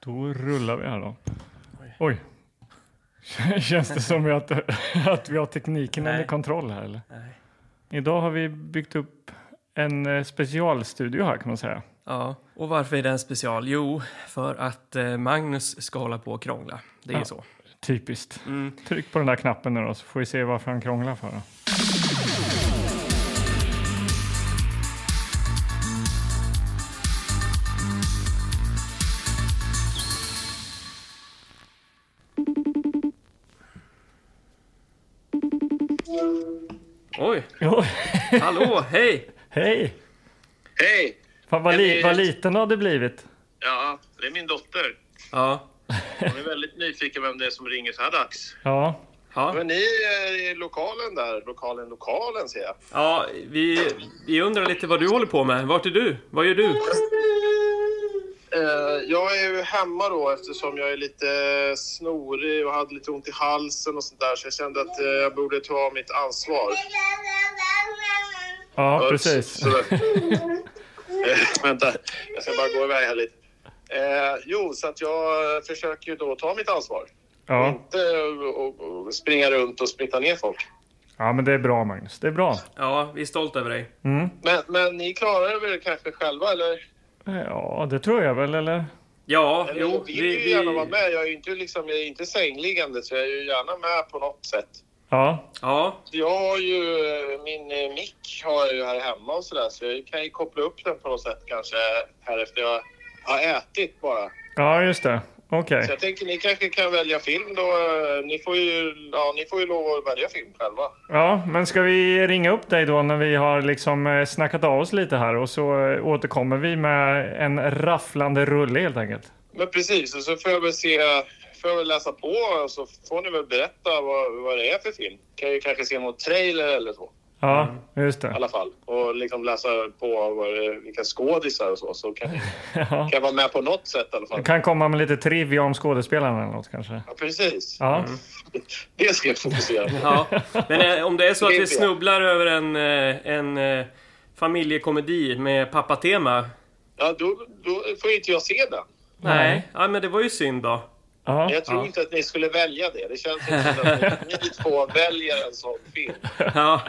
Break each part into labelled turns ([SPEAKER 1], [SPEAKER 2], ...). [SPEAKER 1] Då rullar vi här då. Oj. Känns det som att, att vi har tekniken
[SPEAKER 2] Nej.
[SPEAKER 1] under kontroll här eller?
[SPEAKER 2] Nej.
[SPEAKER 1] Idag har vi byggt upp en eh, specialstudio här kan man säga.
[SPEAKER 2] Ja, och varför är den special? Jo, för att eh, Magnus ska hålla på och krångla. Det är
[SPEAKER 1] Ja.
[SPEAKER 2] så.
[SPEAKER 1] Typiskt.
[SPEAKER 2] Mm.
[SPEAKER 1] Tryck på den där knappen nu då så får vi se varför han krånglar för. Då.
[SPEAKER 2] Oj,
[SPEAKER 1] Jo,
[SPEAKER 2] hallå, hej!
[SPEAKER 1] Hej!
[SPEAKER 3] Hej!
[SPEAKER 1] Fan vad, li-
[SPEAKER 3] Hej.
[SPEAKER 1] vad liten du hade blivit.
[SPEAKER 3] Ja, det är min dotter.
[SPEAKER 2] Ja,
[SPEAKER 3] Hon är väldigt nyfiken vem det är som ringer så här dags.
[SPEAKER 1] Ja,
[SPEAKER 2] ja.
[SPEAKER 3] Men ni är i lokalen där. Lokalen, lokalen ser jag.
[SPEAKER 2] ja vi, vi undrar lite vad du håller på med. Vart är du? Vad gör du?
[SPEAKER 3] Eh, Jag är ju hemma då eftersom jag är lite snorig och hade lite ont i halsen och sånt där. Så jag kände att eh, jag borde ta mitt ansvar.
[SPEAKER 1] ja
[SPEAKER 3] Ja,
[SPEAKER 1] precis.
[SPEAKER 3] så- sådär. Eh, Vänta, jag ska bara gå iväg här lite. Eh, jo, så att jag eh, försöker ju då ta mitt ansvar.
[SPEAKER 1] Ja.
[SPEAKER 3] Inte eh, och, och springa runt och splitta ner folk.
[SPEAKER 1] ja, men det är bra Magnus. Det är bra.
[SPEAKER 2] Ja, vi är stolta över dig.
[SPEAKER 1] Mm.
[SPEAKER 3] Men, men ni klarar er väl kanske själva eller?
[SPEAKER 1] Ja, det tror jag väl eller?
[SPEAKER 2] Ja,
[SPEAKER 3] eller
[SPEAKER 2] jo,
[SPEAKER 3] jag vill
[SPEAKER 2] vi...
[SPEAKER 3] ju gärna vara
[SPEAKER 2] vi
[SPEAKER 3] med. Jag är ju inte, liksom, jag är inte sängliggande så jag är ju gärna med på något sätt.
[SPEAKER 1] Ja,
[SPEAKER 2] ja,
[SPEAKER 3] Jag har ju eh, min eh, mick har jag ju här hemma och sådär så jag kan ju koppla upp den på något sätt kanske här efter jag har ätit bara.
[SPEAKER 1] ja just det. Okej.
[SPEAKER 3] Så jag tänker ni kanske kan välja film då. eh, Ni får ju, ja, ni får ju lov att välja film själva.
[SPEAKER 1] Ja, men ska vi ringa upp dig då när vi har liksom eh, snackat av oss lite här och så eh, återkommer vi med en rafflande rulle helt enkelt.
[SPEAKER 3] Men precis, och så får jag väl se, får jag väl läsa på och så får ni väl berätta vad, vad det är för film. Kan ju kanske se någon trailer eller så.
[SPEAKER 1] Ja, just
[SPEAKER 3] i
[SPEAKER 1] det.
[SPEAKER 3] alla fall och liksom läsa på vad det, vilka skådisar och så. Så kan, kan
[SPEAKER 1] Ja.
[SPEAKER 3] jag vara med på något sätt i alla fall.
[SPEAKER 1] Du kan komma med lite trivia om skådespelarna eller något kanske.
[SPEAKER 3] Ja, precis.
[SPEAKER 1] Ja,
[SPEAKER 3] Det ska jag fokusera på.
[SPEAKER 2] ja. Men eh, om det är så att vi
[SPEAKER 3] Vet jag.
[SPEAKER 2] snubblar över en, eh, en eh, familjekomedi med pappatema.
[SPEAKER 3] Ja, då, då får inte jag se den.
[SPEAKER 2] Nej, ja, men det var ju synd då.
[SPEAKER 1] ja.
[SPEAKER 3] Jag tror inte att ni skulle välja det. Det känns inte som att ni två väljer en sån film.
[SPEAKER 2] Ja,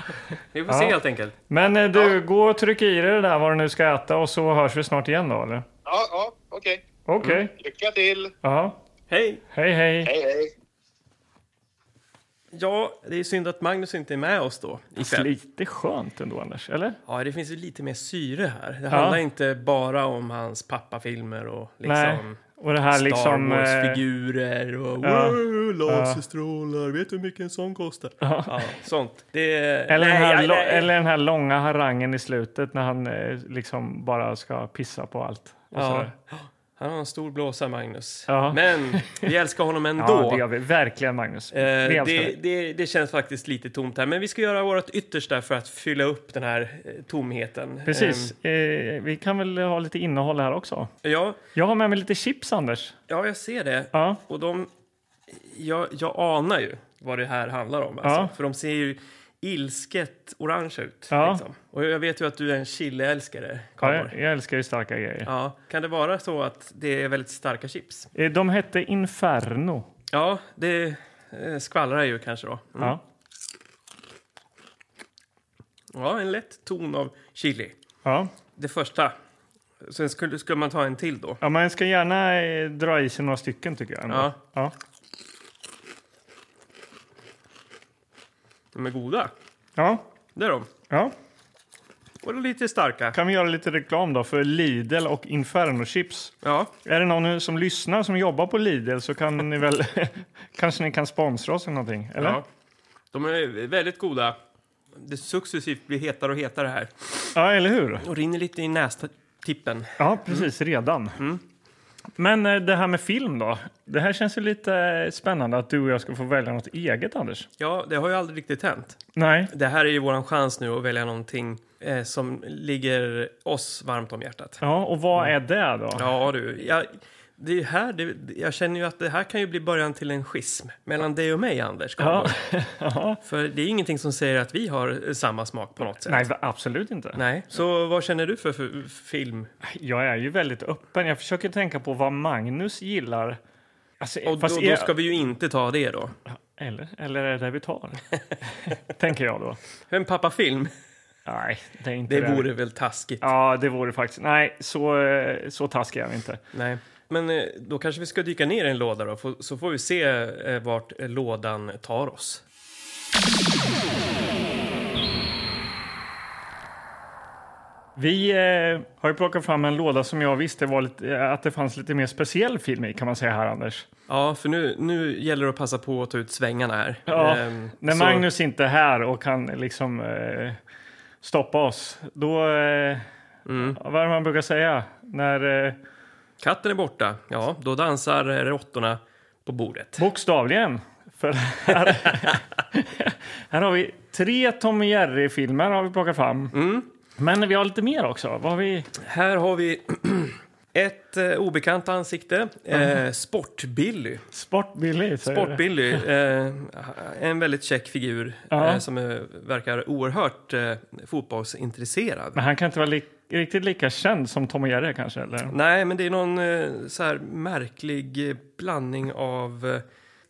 [SPEAKER 2] vi får se
[SPEAKER 1] Ja.
[SPEAKER 2] helt enkelt.
[SPEAKER 1] Men eh, du,
[SPEAKER 3] Ja.
[SPEAKER 1] gå och tryck i dig det där vad du nu ska äta och så hörs vi snart igen då eller?
[SPEAKER 3] Ja, ja okej.
[SPEAKER 1] Okej.
[SPEAKER 3] Lycka till.
[SPEAKER 1] Ja,
[SPEAKER 2] Hej!
[SPEAKER 1] hej hej.
[SPEAKER 3] Hej, hej.
[SPEAKER 2] Ja, det är synd att Magnus inte är med oss då ikväll.
[SPEAKER 1] Lite skönt ändå Anders, eller?
[SPEAKER 2] Ja, det finns ju lite mer syre här. Det handlar inte bara om hans pappafilmer och
[SPEAKER 1] Nej.
[SPEAKER 2] liksom
[SPEAKER 1] Och det här
[SPEAKER 2] Star
[SPEAKER 1] liksom... eh,
[SPEAKER 2] Wars-figurer och
[SPEAKER 1] ja.
[SPEAKER 2] wow, laserstrålar, vet du hur mycket en sån kostar? Ja, sånt. Det,
[SPEAKER 1] Eller, den här,
[SPEAKER 2] nej,
[SPEAKER 1] lo-
[SPEAKER 2] nej.
[SPEAKER 1] eller den här långa harangen i slutet när han eh, liksom bara ska pissa på allt. Och
[SPEAKER 2] Ja.
[SPEAKER 1] sådär.
[SPEAKER 2] Han har en stor blåsa, Magnus.
[SPEAKER 1] Ja.
[SPEAKER 2] Men vi älskar honom ändå.
[SPEAKER 1] ja, det gör vi. Verkligen Magnus.
[SPEAKER 2] Eh,
[SPEAKER 1] vi
[SPEAKER 2] det,
[SPEAKER 1] älskar dig.
[SPEAKER 2] det, det känns faktiskt lite tomt här, men vi ska göra vårt yttersta för att fylla upp den här eh, tomheten.
[SPEAKER 1] Precis. Eh, vi kan väl ha lite innehåll här också.
[SPEAKER 2] Eh, ja,
[SPEAKER 1] Jag har med mig lite chips Anders.
[SPEAKER 2] ja, jag ser det.
[SPEAKER 1] Ja,
[SPEAKER 2] Och de... Jag, jag anar ju vad det här handlar om. Alltså.
[SPEAKER 1] Ja.
[SPEAKER 2] För de ser ju ilsket orange ut.
[SPEAKER 1] Ja.
[SPEAKER 2] Liksom. Och jag vet ju att du är en chiliälskare,
[SPEAKER 1] ja
[SPEAKER 2] Karl.
[SPEAKER 1] jag, jag älskar ju starka grejer.
[SPEAKER 2] Ja. Kan det vara så att det är väldigt starka chips?
[SPEAKER 1] Eh, de hette Inferno.
[SPEAKER 2] Ja, det eh, skvallrar ju kanske då. Mm.
[SPEAKER 1] Ja.
[SPEAKER 2] Ja, en lätt ton av chili.
[SPEAKER 1] Ja.
[SPEAKER 2] Det första. Sen skulle, skulle man ta en till då.
[SPEAKER 1] ja, man ska gärna eh, dra i sig några stycken tycker jag. ändå.
[SPEAKER 2] Ja.
[SPEAKER 1] Ja.
[SPEAKER 2] De är goda.
[SPEAKER 1] Ja.
[SPEAKER 2] Det är de.
[SPEAKER 1] ja,
[SPEAKER 2] Och de är lite starka.
[SPEAKER 1] kan vi göra lite reklam då för Lidl och Inferno chips?
[SPEAKER 2] Ja,
[SPEAKER 1] Är det någon som lyssnar som jobbar på Lidl så kan ni väl kanske ni kan sponsra oss eller någonting? Eller?
[SPEAKER 2] ja. De är väldigt goda. Det successivt blir hetare och hetare här.
[SPEAKER 1] Ja, eller hur?
[SPEAKER 2] Och rinner lite i nästippen.
[SPEAKER 1] Ja, precis. Redan.
[SPEAKER 2] Mm.
[SPEAKER 1] Men eh, det här med film då? Det här känns ju lite eh, spännande att du och jag ska få välja något eget, Anders.
[SPEAKER 2] Ja, det har ju aldrig riktigt hänt.
[SPEAKER 1] Nej.
[SPEAKER 2] Det här är ju våran chans nu att välja någonting eh, som ligger oss varmt om hjärtat. Mm.
[SPEAKER 1] Ja, och vad är det då?
[SPEAKER 2] Ja du, jag, Det är ju här, det, jag känner ju att det här kan ju bli början till en schism mellan dig och mig, Anders.
[SPEAKER 1] Ja.
[SPEAKER 2] Karlberg. För det är ingenting som säger att vi har eh, samma smak på något sätt.
[SPEAKER 1] Nej, absolut inte.
[SPEAKER 2] Nej. Så vad känner du för, för film?
[SPEAKER 1] Jag är ju väldigt öppen. Jag försöker tänka på vad Magnus gillar. Alltså,
[SPEAKER 2] Och då,
[SPEAKER 1] fast
[SPEAKER 2] då
[SPEAKER 1] är-
[SPEAKER 2] ska vi ju inte ta det då.
[SPEAKER 1] eller, eller är det det vi tar? tänker jag då.
[SPEAKER 2] En pappafilm?
[SPEAKER 1] Nej, det är inte
[SPEAKER 2] Det
[SPEAKER 1] det.
[SPEAKER 2] vore väl taskigt?
[SPEAKER 1] Ja, det vore faktiskt. Nej, så, eh, så taskig är vi inte.
[SPEAKER 2] Nej. Men eh, då kanske vi ska dyka ner i en låda då, få- så får vi se eh, vart eh, lådan tar oss.
[SPEAKER 1] Vi eh, har ju plockat fram en låda som jag visste var lite, eh, att det fanns lite mer speciell film i kan man säga här Anders.
[SPEAKER 2] Ja, för nu, nu gäller det att passa på att ta ut svängarna här.
[SPEAKER 1] Ja,
[SPEAKER 2] Ehm,
[SPEAKER 1] När
[SPEAKER 2] så-
[SPEAKER 1] Magnus inte är här och kan liksom eh, stoppa oss, då... Eh,
[SPEAKER 2] Mm.
[SPEAKER 1] Vad är det man brukar säga? När eh,
[SPEAKER 2] Katten är borta. Ja, då dansar eh, råttorna på bordet.
[SPEAKER 1] bokstavligen, för här, här har vi tre Tom och Jerry-filmer har vi plockat fram.
[SPEAKER 2] Mm.
[SPEAKER 1] Men vi har lite mer också. Vad har vi?
[SPEAKER 2] Här har vi ett eh, obekant ansikte. Eh, Sport-Billy.
[SPEAKER 1] Sportbilly. säger du.
[SPEAKER 2] Sport-Billy, eh, en väldigt käck figur
[SPEAKER 1] Ja.
[SPEAKER 2] eh, som eh, verkar oerhört eh, fotbollsintresserad.
[SPEAKER 1] Men han kan inte vara li- riktigt lika känd som Tom och Jerry kanske? Eller?
[SPEAKER 2] Nej, men det är någon eh, så här märklig eh, blandning av eh,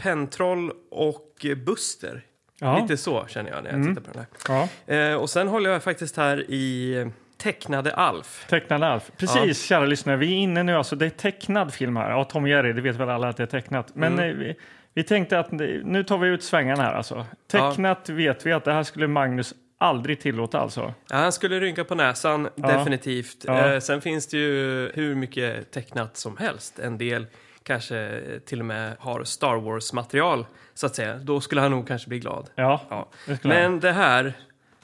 [SPEAKER 2] pentroll och eh, Buster.
[SPEAKER 1] Ja. Mm.
[SPEAKER 2] Lite så känner jag när jag tittar på den här.
[SPEAKER 1] Ja.
[SPEAKER 2] Eh, och sen håller jag faktiskt här i eh, tecknade Alf.
[SPEAKER 1] Tecknad Alf. Precis, kära lyssnare. Vi är inne nu. Alltså, det är tecknad film här. Ja, Tom och Jerry, det vet väl alla att det är tecknat. Men eh, vi, vi tänkte att nu tar vi ut svängarna här. Alltså. Tecknat vet vi att det här skulle Magnus aldrig tillåta. Alltså.
[SPEAKER 2] Ja, han skulle rynka på näsan, definitivt.
[SPEAKER 1] Ja.
[SPEAKER 2] Eh, sen finns det ju hur mycket tecknat som helst. En del kanske eh, till och med har Star Wars-material, så att säga. Då skulle han nog kanske bli glad.
[SPEAKER 1] Ja,
[SPEAKER 2] Ja.
[SPEAKER 1] det skulle han.
[SPEAKER 2] Men eh, det här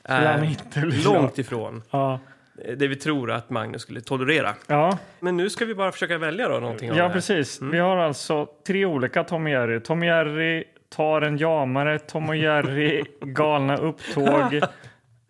[SPEAKER 1] Skulle han
[SPEAKER 2] är
[SPEAKER 1] inte bli glad.
[SPEAKER 2] långt ifrån
[SPEAKER 1] Ja.
[SPEAKER 2] eh, det vi tror att Magnus skulle tolerera.
[SPEAKER 1] Ja,
[SPEAKER 2] Men nu ska vi bara försöka välja då någonting av det
[SPEAKER 1] ja
[SPEAKER 2] här.
[SPEAKER 1] precis. Vi har alltså tre olika Tom och Jerry. Tom och Jerry tar en jamare, Tom och Jerry galna upptåg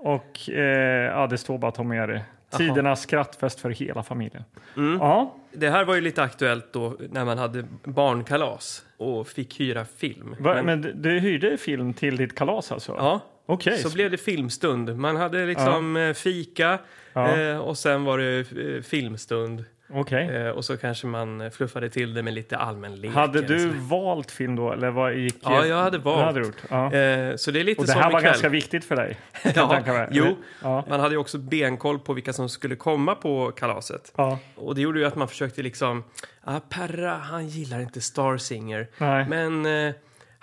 [SPEAKER 1] och eh, ja, det står bara Tom och Jerry. Tidernas skrattfest för hela familjen.
[SPEAKER 2] Mm.
[SPEAKER 1] Ja,
[SPEAKER 2] Det här var ju lite aktuellt då när man hade barnkalas och fick hyra film.
[SPEAKER 1] Va, men, du- du hyrde film till ditt kalas alltså?
[SPEAKER 2] ja,
[SPEAKER 1] Okej.
[SPEAKER 2] så blev det filmstund. Man hade liksom eh, fika
[SPEAKER 1] Ja.
[SPEAKER 2] eh, och sen var det eh, filmstund.
[SPEAKER 1] Okej.
[SPEAKER 2] Eh, och så kanske man eh, fluffade till det med lite allmän lek.
[SPEAKER 1] Hade
[SPEAKER 2] eller
[SPEAKER 1] du
[SPEAKER 2] så.
[SPEAKER 1] valt film då? Eller vad gick
[SPEAKER 2] Ja, jag hade
[SPEAKER 1] Det hade
[SPEAKER 2] valt.
[SPEAKER 1] du gjort. Ja.
[SPEAKER 2] Eh, så det är lite
[SPEAKER 1] Och det
[SPEAKER 2] som
[SPEAKER 1] här var
[SPEAKER 2] ikväll.
[SPEAKER 1] ganska viktigt för dig? kan jag tänka mig.
[SPEAKER 2] ja, jo,
[SPEAKER 1] Ja.
[SPEAKER 2] man hade ju också benkoll på vilka som skulle komma på kalaset.
[SPEAKER 1] Ja.
[SPEAKER 2] Och det gjorde ju att man försökte liksom, ah, Perra han gillar inte Star Singer,
[SPEAKER 1] Nej.
[SPEAKER 2] men eh,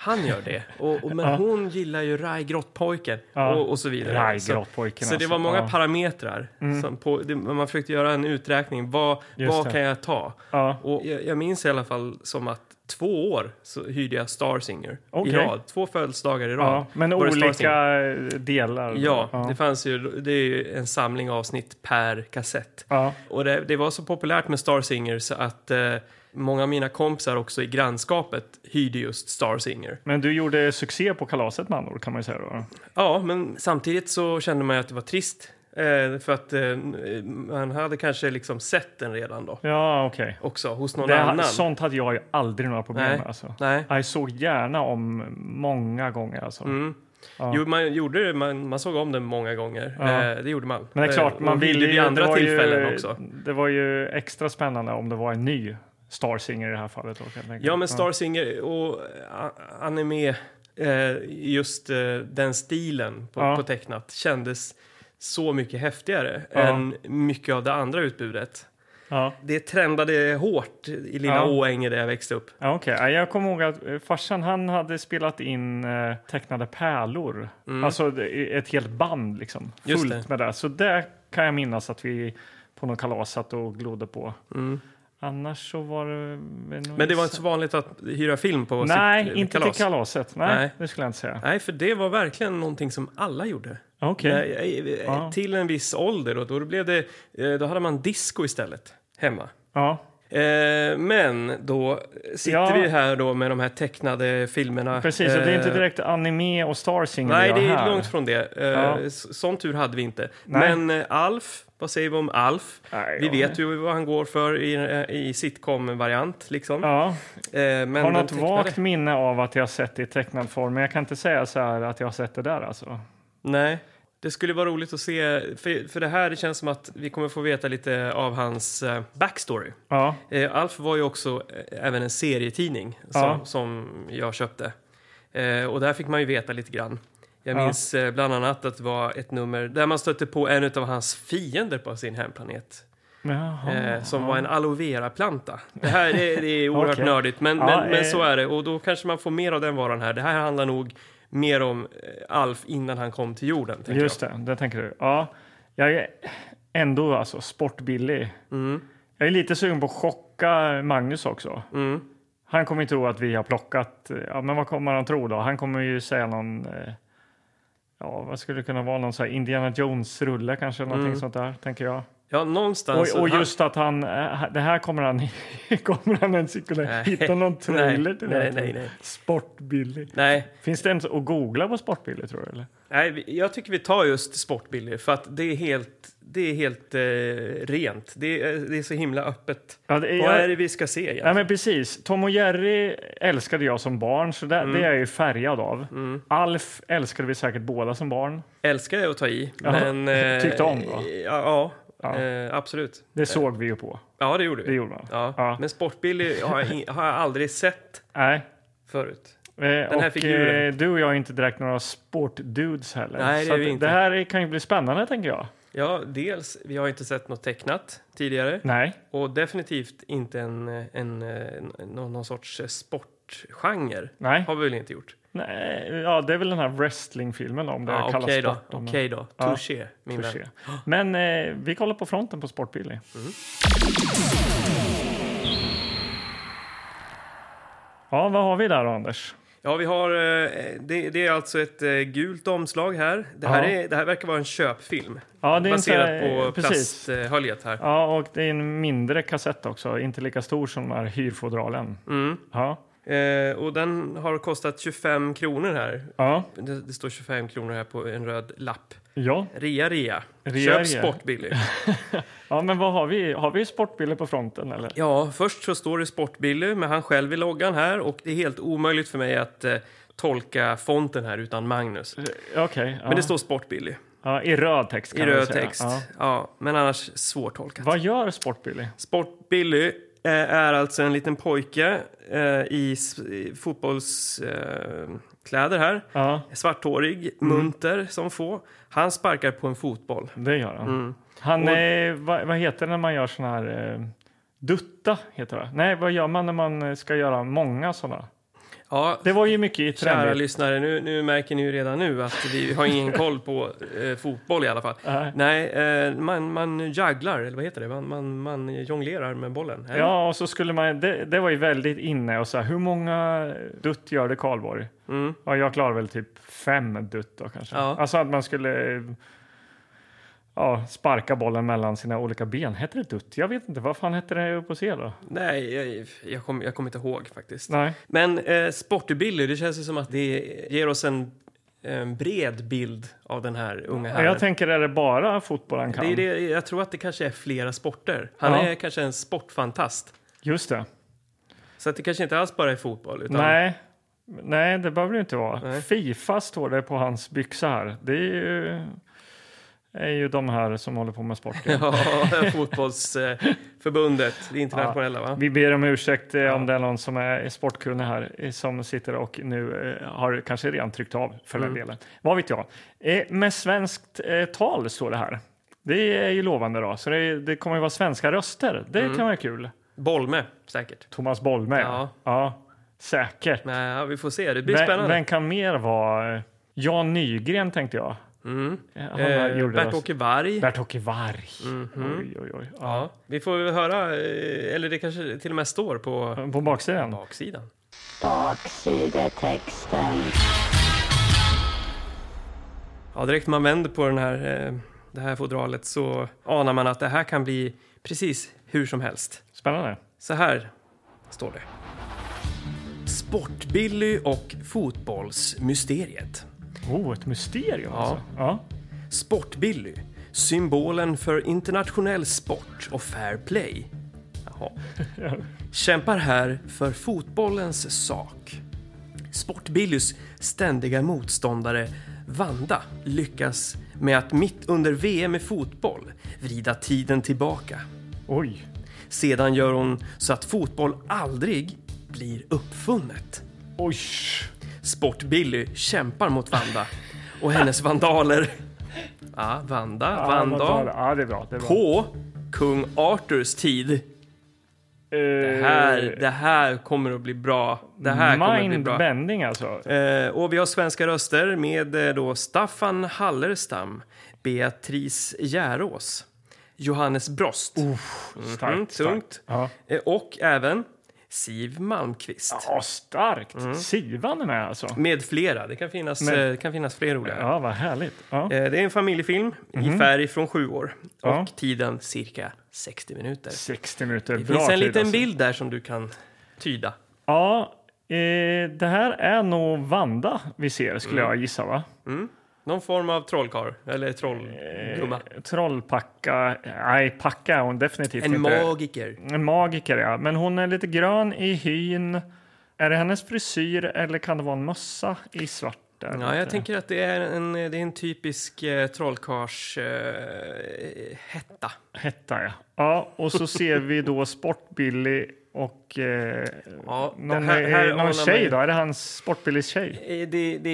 [SPEAKER 2] han gör det. Och, och, men hon gillar ju Rai Grottpojken
[SPEAKER 1] Ja.
[SPEAKER 2] och, och så vidare.
[SPEAKER 1] Rai
[SPEAKER 2] Så-
[SPEAKER 1] Grottpojken,
[SPEAKER 2] Så det
[SPEAKER 1] alltså.
[SPEAKER 2] var många
[SPEAKER 1] Ja. Mm.
[SPEAKER 2] parametrar. Som på, det, man försökte göra en uträkning, vad,
[SPEAKER 1] Just
[SPEAKER 2] vad
[SPEAKER 1] det.
[SPEAKER 2] kan jag ta?
[SPEAKER 1] Ja.
[SPEAKER 2] Och jag, jag minns i alla fall som att Två år så hyrde jag Star Singer
[SPEAKER 1] Okej.
[SPEAKER 2] i rad. Två födelsedagar i rad.
[SPEAKER 1] Ja, men
[SPEAKER 2] var det Star Singer.
[SPEAKER 1] olika delar?
[SPEAKER 2] Ja,
[SPEAKER 1] ja.
[SPEAKER 2] det fanns ju, det är ju en samling avsnitt per kassett.
[SPEAKER 1] Ja.
[SPEAKER 2] Och det, det var så populärt med Star Singer så att eh, många av mina kompisar också i grannskapet hyrde just Star Singer.
[SPEAKER 1] Men du gjorde succé på kalaset med andra ord, kan man ju säga då.
[SPEAKER 2] Ja, men samtidigt så kände man ju att det var trist. Eh, för att eh, man hade kanske liksom sett den redan då.
[SPEAKER 1] Ja, okej.
[SPEAKER 2] Också hos någon
[SPEAKER 1] Det,
[SPEAKER 2] annan.
[SPEAKER 1] sånt hade jag ju aldrig några problem
[SPEAKER 2] Nej.
[SPEAKER 1] med. Alltså.
[SPEAKER 2] Nej.
[SPEAKER 1] Jag såg gärna om många gånger. Alltså.
[SPEAKER 2] Mm. Jo, man, gjorde, det, man, man såg om den många gånger. Eh, det gjorde man.
[SPEAKER 1] Men det är klart,
[SPEAKER 2] Eh,
[SPEAKER 1] man
[SPEAKER 2] och
[SPEAKER 1] ville
[SPEAKER 2] hyrde
[SPEAKER 1] ju...
[SPEAKER 2] vid andra
[SPEAKER 1] det var
[SPEAKER 2] tillfällen
[SPEAKER 1] ju,
[SPEAKER 2] också.
[SPEAKER 1] Det var ju extra spännande om det var en ny Star Singer i det här fallet. Då, kan jag tänka.
[SPEAKER 2] Ja, men Star Singer och eh, anime, eh, just eh, den stilen på,
[SPEAKER 1] Ja.
[SPEAKER 2] på tecknat kändes så mycket häftigare
[SPEAKER 1] Ja.
[SPEAKER 2] än mycket av det andra utbudet.
[SPEAKER 1] Ja.
[SPEAKER 2] Det trendade hårt i lilla
[SPEAKER 1] Ja.
[SPEAKER 2] Åänge där jag växte upp.
[SPEAKER 1] Ja, okej. Ja, Jag kommer ihåg att eh, farsan han hade spelat in eh, tecknade pärlor. Alltså det- ett helt band liksom.
[SPEAKER 2] Mm. Just
[SPEAKER 1] Fullt med det. Så det kan jag minnas att vi på någon kalas satt och glodde på. Annars så var det...
[SPEAKER 2] Mm. Men det var inte så vanligt att hyra film på
[SPEAKER 1] Nej,
[SPEAKER 2] sitt eh,
[SPEAKER 1] inte
[SPEAKER 2] kalas.
[SPEAKER 1] till kalaset. Nej,
[SPEAKER 2] Nej.
[SPEAKER 1] det skulle jag inte säga.
[SPEAKER 2] Nej, för det var verkligen någonting som alla gjorde.
[SPEAKER 1] Okej.
[SPEAKER 2] Eh, eh, eh,
[SPEAKER 1] Ja.
[SPEAKER 2] Till en viss ålder och då, blev det, eh, då hade man disco istället hemma.
[SPEAKER 1] Ja.
[SPEAKER 2] Eh, men då sitter
[SPEAKER 1] Ja.
[SPEAKER 2] vi här då med de här tecknade filmerna.
[SPEAKER 1] Precis, och det är inte
[SPEAKER 2] Eh,
[SPEAKER 1] direkt anime och Star Singer
[SPEAKER 2] Nej,
[SPEAKER 1] vi har
[SPEAKER 2] det är
[SPEAKER 1] här.
[SPEAKER 2] långt från det. Eh,
[SPEAKER 1] Ja.
[SPEAKER 2] s- Sån tur hade vi inte.
[SPEAKER 1] Nej.
[SPEAKER 2] Men eh, Alf, vad säger vi om Alf?
[SPEAKER 1] Nej,
[SPEAKER 2] vi
[SPEAKER 1] ja.
[SPEAKER 2] vet ju vad han går för i, eh, i sitcom-variant. Liksom.
[SPEAKER 1] Ja,
[SPEAKER 2] Eh, men
[SPEAKER 1] har
[SPEAKER 2] den
[SPEAKER 1] något
[SPEAKER 2] tecknade-
[SPEAKER 1] vagt minne av att jag har sett det i tecknad form, men jag kan inte säga så här att jag har sett det där alltså.
[SPEAKER 2] Nej. Det skulle vara roligt att se, för, för det här det känns som att vi kommer få veta lite av hans eh, backstory.
[SPEAKER 1] Ja,
[SPEAKER 2] Eh, Alf var ju också eh, även en serietidning som,
[SPEAKER 1] Ja.
[SPEAKER 2] som jag köpte. Eh, och där fick man ju veta lite grann. Jag
[SPEAKER 1] Ja.
[SPEAKER 2] minns eh, bland annat att det var ett nummer där man stötte på en av hans fiender på sin hemplanet.
[SPEAKER 1] Jaha.
[SPEAKER 2] Eh, som var en aloe vera-planta. Det här är, det är oerhört
[SPEAKER 1] Ah. Okej.
[SPEAKER 2] nördigt, men,
[SPEAKER 1] Ja,
[SPEAKER 2] men, men
[SPEAKER 1] eh.
[SPEAKER 2] så är det. Och då kanske man får mer av den varan här. Det här handlar nog mer om eh, Alf innan han kom till jorden. tänker
[SPEAKER 1] just det, det tänker du. Ja, jag är ändå alltså sportbillig.
[SPEAKER 2] Mm.
[SPEAKER 1] Jag är lite sugen på att chocka Magnus också.
[SPEAKER 2] Jag. Mm.
[SPEAKER 1] Han kommer ju tro att vi har plockat, eh, ja men vad kommer han tro då? Han kommer ju säga någon, eh, ja vad skulle det kunna vara, någon så här Indiana Jones-rulle kanske, någonting
[SPEAKER 2] Mm.
[SPEAKER 1] sånt där, tänker jag.
[SPEAKER 2] Ja, någonstans.
[SPEAKER 1] Och, och just att han, eh, det här kommer han, kommer han ens kunna
[SPEAKER 2] Nej.
[SPEAKER 1] hitta någon trailer till?
[SPEAKER 2] Nej,
[SPEAKER 1] det här,
[SPEAKER 2] nej,
[SPEAKER 1] tror jag.
[SPEAKER 2] nej.
[SPEAKER 1] Sportbillig.
[SPEAKER 2] Nej,
[SPEAKER 1] Finns det ens att googla på sportbillig tror du? Eller?
[SPEAKER 2] Nej, vi- jag tycker vi tar just sportbilder för att det är helt, det är helt eh, rent. Det är, det är så himla öppet.
[SPEAKER 1] Ja, det är,
[SPEAKER 2] Vad
[SPEAKER 1] jag,
[SPEAKER 2] är det vi ska se egentligen?
[SPEAKER 1] nej, men precis. Tom och Jerry älskade jag som barn, så
[SPEAKER 2] Mm.
[SPEAKER 1] där, det är jag ju färgad av. Alf älskade vi säkert båda som barn.
[SPEAKER 2] Älskar jag att ta i,
[SPEAKER 1] Ja,
[SPEAKER 2] men... eh,
[SPEAKER 1] tyckte om då?
[SPEAKER 2] Ja, ja,
[SPEAKER 1] Ja.
[SPEAKER 2] Eh, absolut.
[SPEAKER 1] Det såg vi ju på.
[SPEAKER 2] Ja, det gjorde vi.
[SPEAKER 1] Det gjorde man.
[SPEAKER 2] Ja.
[SPEAKER 1] Ja.
[SPEAKER 2] Men sportbilder har, jag in- har jag aldrig sett
[SPEAKER 1] Nej.
[SPEAKER 2] förut.
[SPEAKER 1] Eh, Den
[SPEAKER 2] här
[SPEAKER 1] och
[SPEAKER 2] figuren.
[SPEAKER 1] eh, du och jag är inte direkt några sportdudes heller.
[SPEAKER 2] Nej, det
[SPEAKER 1] Så
[SPEAKER 2] är
[SPEAKER 1] att
[SPEAKER 2] vi inte.
[SPEAKER 1] det här är- kan ju bli spännande, tänker jag.
[SPEAKER 2] Ja, dels, vi har inte sett något tecknat tidigare
[SPEAKER 1] Nej.
[SPEAKER 2] och definitivt inte en, en, eh, någon, någon sorts eh, sportgenre.
[SPEAKER 1] Nej.
[SPEAKER 2] Har vi väl inte gjort?
[SPEAKER 1] Nej, ja, det är väl den här wrestlingfilmen om det
[SPEAKER 2] Ja,
[SPEAKER 1] kallas
[SPEAKER 2] Okej då,
[SPEAKER 1] sport. om
[SPEAKER 2] okej då.
[SPEAKER 1] Ja.
[SPEAKER 2] Touché, min
[SPEAKER 1] man får
[SPEAKER 2] vän.
[SPEAKER 1] se. Men eh, vi kollar på fronten på
[SPEAKER 2] Mm.
[SPEAKER 1] Sportbilly. Ja, vad har vi där då, Anders?
[SPEAKER 2] Ja, vi har, eh, det, det är alltså ett eh, gult omslag här. Det här,
[SPEAKER 1] Ja.
[SPEAKER 2] är, det här verkar vara en köpfilm.
[SPEAKER 1] Ja, det är
[SPEAKER 2] baserat
[SPEAKER 1] inte- eh,
[SPEAKER 2] på
[SPEAKER 1] precis.
[SPEAKER 2] plasthöljet här.
[SPEAKER 1] Ja, och det är en mindre kassett också, inte lika stor som den här hyrfodralen.
[SPEAKER 2] Mm.
[SPEAKER 1] Ja,
[SPEAKER 2] Eh, och den har kostat 25 kronor här.
[SPEAKER 1] ja,
[SPEAKER 2] Det, det står 25 kronor här på en röd lapp.
[SPEAKER 1] ja.
[SPEAKER 2] Rea, rea.
[SPEAKER 1] Rea,
[SPEAKER 2] Köp
[SPEAKER 1] rea.
[SPEAKER 2] sport Billy.
[SPEAKER 1] ja men vad har vi? Har vi Sportbilly på fronten eller?
[SPEAKER 2] Ja, först så står det sport Billy med han själv i loggan här och det är helt omöjligt för mig att eh, tolka fonten här utan Magnus. Men
[SPEAKER 1] Okej. ja.
[SPEAKER 2] det står sport Billy
[SPEAKER 1] ja, I röd text
[SPEAKER 2] i
[SPEAKER 1] kan man
[SPEAKER 2] röd
[SPEAKER 1] säga.
[SPEAKER 2] text.
[SPEAKER 1] Ja.
[SPEAKER 2] Ja. men annars svårtolkat.
[SPEAKER 1] Vad gör Sportbilly?
[SPEAKER 2] Sport-Billy eh, är alltså en liten pojke eh, i fotbollskläder här.
[SPEAKER 1] Ja,
[SPEAKER 2] Svarthårig, munter som få. Han sparkar på en fotboll.
[SPEAKER 1] det gör han.
[SPEAKER 2] Mm.
[SPEAKER 1] Han, eh, vad, vad heter det när man gör såna här... Eh, dutta heter det. Nej, vad gör man när man eh, ska göra många såna?
[SPEAKER 2] Ja,
[SPEAKER 1] Det var ju mycket i
[SPEAKER 2] kära
[SPEAKER 1] trendigt.
[SPEAKER 2] lyssnare, nu, nu märker ni ju redan nu att vi har ingen koll på eh, fotboll i alla fall.
[SPEAKER 1] Nej.
[SPEAKER 2] Nej, eh, man, man jugglar, eller vad heter det? Man, man, man jonglerar med bollen. eller?
[SPEAKER 1] Ja, och så skulle man, det, det var ju väldigt inne och så här, hur många dutt gör det Karlborg?
[SPEAKER 2] Mm.
[SPEAKER 1] Ja, jag klarar väl typ fem dutt då kanske.
[SPEAKER 2] Ja.
[SPEAKER 1] Alltså att man skulle eh, ja, sparka bollen mellan sina olika ben. Heter det dutt? Jag vet inte, vad fan hette det upp och se då?
[SPEAKER 2] Nej, jag, jag kommer jag kommer inte ihåg faktiskt.
[SPEAKER 1] Nej,
[SPEAKER 2] Men eh, sportbilder, det känns ju som att det ger oss en, en bred bild av den här unga herren.
[SPEAKER 1] jag tänker är det bara fotboll han kan?
[SPEAKER 2] det är det, jag tror att det kanske är flera sporter. Han
[SPEAKER 1] Ja.
[SPEAKER 2] är kanske en sportfantast.
[SPEAKER 1] Just det.
[SPEAKER 2] Så att det kanske inte alls bara är fotboll. Utan,
[SPEAKER 1] Nej. Nej, det behöver det inte vara.
[SPEAKER 2] Nej.
[SPEAKER 1] Fifa står det på hans byxa här. Det är ju, är ju de här som håller på med sport.
[SPEAKER 2] Ja, fotbollsförbundet, det internationella va?
[SPEAKER 1] Vi ber om ursäkt eh, om det är någon som är sportkunnig här eh, som sitter och nu eh, har kanske redan tryckt av för den
[SPEAKER 2] Mm.
[SPEAKER 1] delen. Vad vet jag? Eh, med svenskt eh, tal står det här. Det är ju lovande då, så det, det kommer ju vara svenska röster. Det kan vara kul.
[SPEAKER 2] Bolme, säkert.
[SPEAKER 1] Thomas Bolme, ja.
[SPEAKER 2] Mm. Ja.
[SPEAKER 1] ja säkert.
[SPEAKER 2] Nej, ja, vi får se, det blir
[SPEAKER 1] Vem,
[SPEAKER 2] spännande.
[SPEAKER 1] vem kan mer vara eh, Jan Nygren tänkte jag.
[SPEAKER 2] Mm.
[SPEAKER 1] Eh, Han
[SPEAKER 2] Eh,
[SPEAKER 1] gjorde röst-
[SPEAKER 2] Bert-Åke Mhm. Varg.
[SPEAKER 1] Bert-Åke Varg. Oj, oj, oj. Ja.
[SPEAKER 2] Ja, vi får väl höra, eh, eller det kanske till och med står på
[SPEAKER 1] På baksidan.
[SPEAKER 2] baksidan.
[SPEAKER 4] Baksidetexten.
[SPEAKER 2] Ja, direkt man vänder på den här, eh, det här fodralet så anar man att det här kan bli precis hur som helst.
[SPEAKER 1] Spännande.
[SPEAKER 2] Så här står det. Sportbilly och fotbollsmysteriet.
[SPEAKER 1] Oh, ett mysterium
[SPEAKER 2] Ja.
[SPEAKER 1] alltså. Ja.
[SPEAKER 2] Sportbilly, symbolen för internationell sport och fair play. Jaha. Kämpar här för fotbollens sak. Sportbillys ständiga motståndare Vanda lyckas med att mitt under VM i fotboll vrida tiden tillbaka.
[SPEAKER 1] Oj.
[SPEAKER 2] Sedan gör hon så att fotboll aldrig blir uppfunnet.
[SPEAKER 1] Oj.
[SPEAKER 2] Sport-Billy kämpar mot Vanda och hennes vandaler. Ja, Vanda,
[SPEAKER 1] Ja, vad
[SPEAKER 2] Vandal.
[SPEAKER 1] bra. Ja, det är bra. Det är bra.
[SPEAKER 2] På kung Arthurs tid.
[SPEAKER 1] Eh,
[SPEAKER 2] Det här, det här kommer att bli bra. Det här kommer att bli bra.
[SPEAKER 1] Mindbending alltså.
[SPEAKER 2] Eh, och vi har svenska röster med eh, då Staffan Hallerstam, Beatrice Järås, Johannes Brost.
[SPEAKER 1] Oh, Starkt.
[SPEAKER 2] Mm,
[SPEAKER 1] starkt.
[SPEAKER 2] tungt.
[SPEAKER 1] Ja.
[SPEAKER 2] Eh, Och även Siv Malmqvist.
[SPEAKER 1] Ja, starkt.
[SPEAKER 2] Mm-hmm.
[SPEAKER 1] Sivan är med alltså.
[SPEAKER 2] Med flera. Det kan finnas,
[SPEAKER 1] Men-
[SPEAKER 2] eh, det kan finnas fler roliga.
[SPEAKER 1] Ja, vad härligt. Ja.
[SPEAKER 2] Eh, Det är en familjefilm i färg från sju år och
[SPEAKER 1] Ja.
[SPEAKER 2] tiden cirka 60 minuter.
[SPEAKER 1] 60 minuter.
[SPEAKER 2] Det
[SPEAKER 1] Bra
[SPEAKER 2] finns en
[SPEAKER 1] tid,
[SPEAKER 2] liten
[SPEAKER 1] alltså.
[SPEAKER 2] bild där som du kan tyda.
[SPEAKER 1] Ja, eh, det här är nog Vanda vi ser skulle
[SPEAKER 2] Mm.
[SPEAKER 1] jag gissa va?
[SPEAKER 2] Någon form av trollkarl eller trollgumma.
[SPEAKER 1] Trollpacka, nej packa är hon definitivt
[SPEAKER 2] En
[SPEAKER 1] inte.
[SPEAKER 2] magiker.
[SPEAKER 1] en magiker ja, men hon är lite grön i hyn. Är det hennes frisyr eller kan det vara en mössa i svart? Där? Eh.
[SPEAKER 2] Ja, jag tänker att det är en, det är en typisk eh, trollkars eh, hetta.
[SPEAKER 1] Hetta ja. Ja, och så ser vi då Sportbilly och eh,
[SPEAKER 2] Ja, det
[SPEAKER 1] någon,
[SPEAKER 2] här- här
[SPEAKER 1] eh,
[SPEAKER 2] anar man
[SPEAKER 1] någon tjej
[SPEAKER 2] ju-
[SPEAKER 1] då? Är det hans Sportbillys tjej?
[SPEAKER 2] Eh, Det, det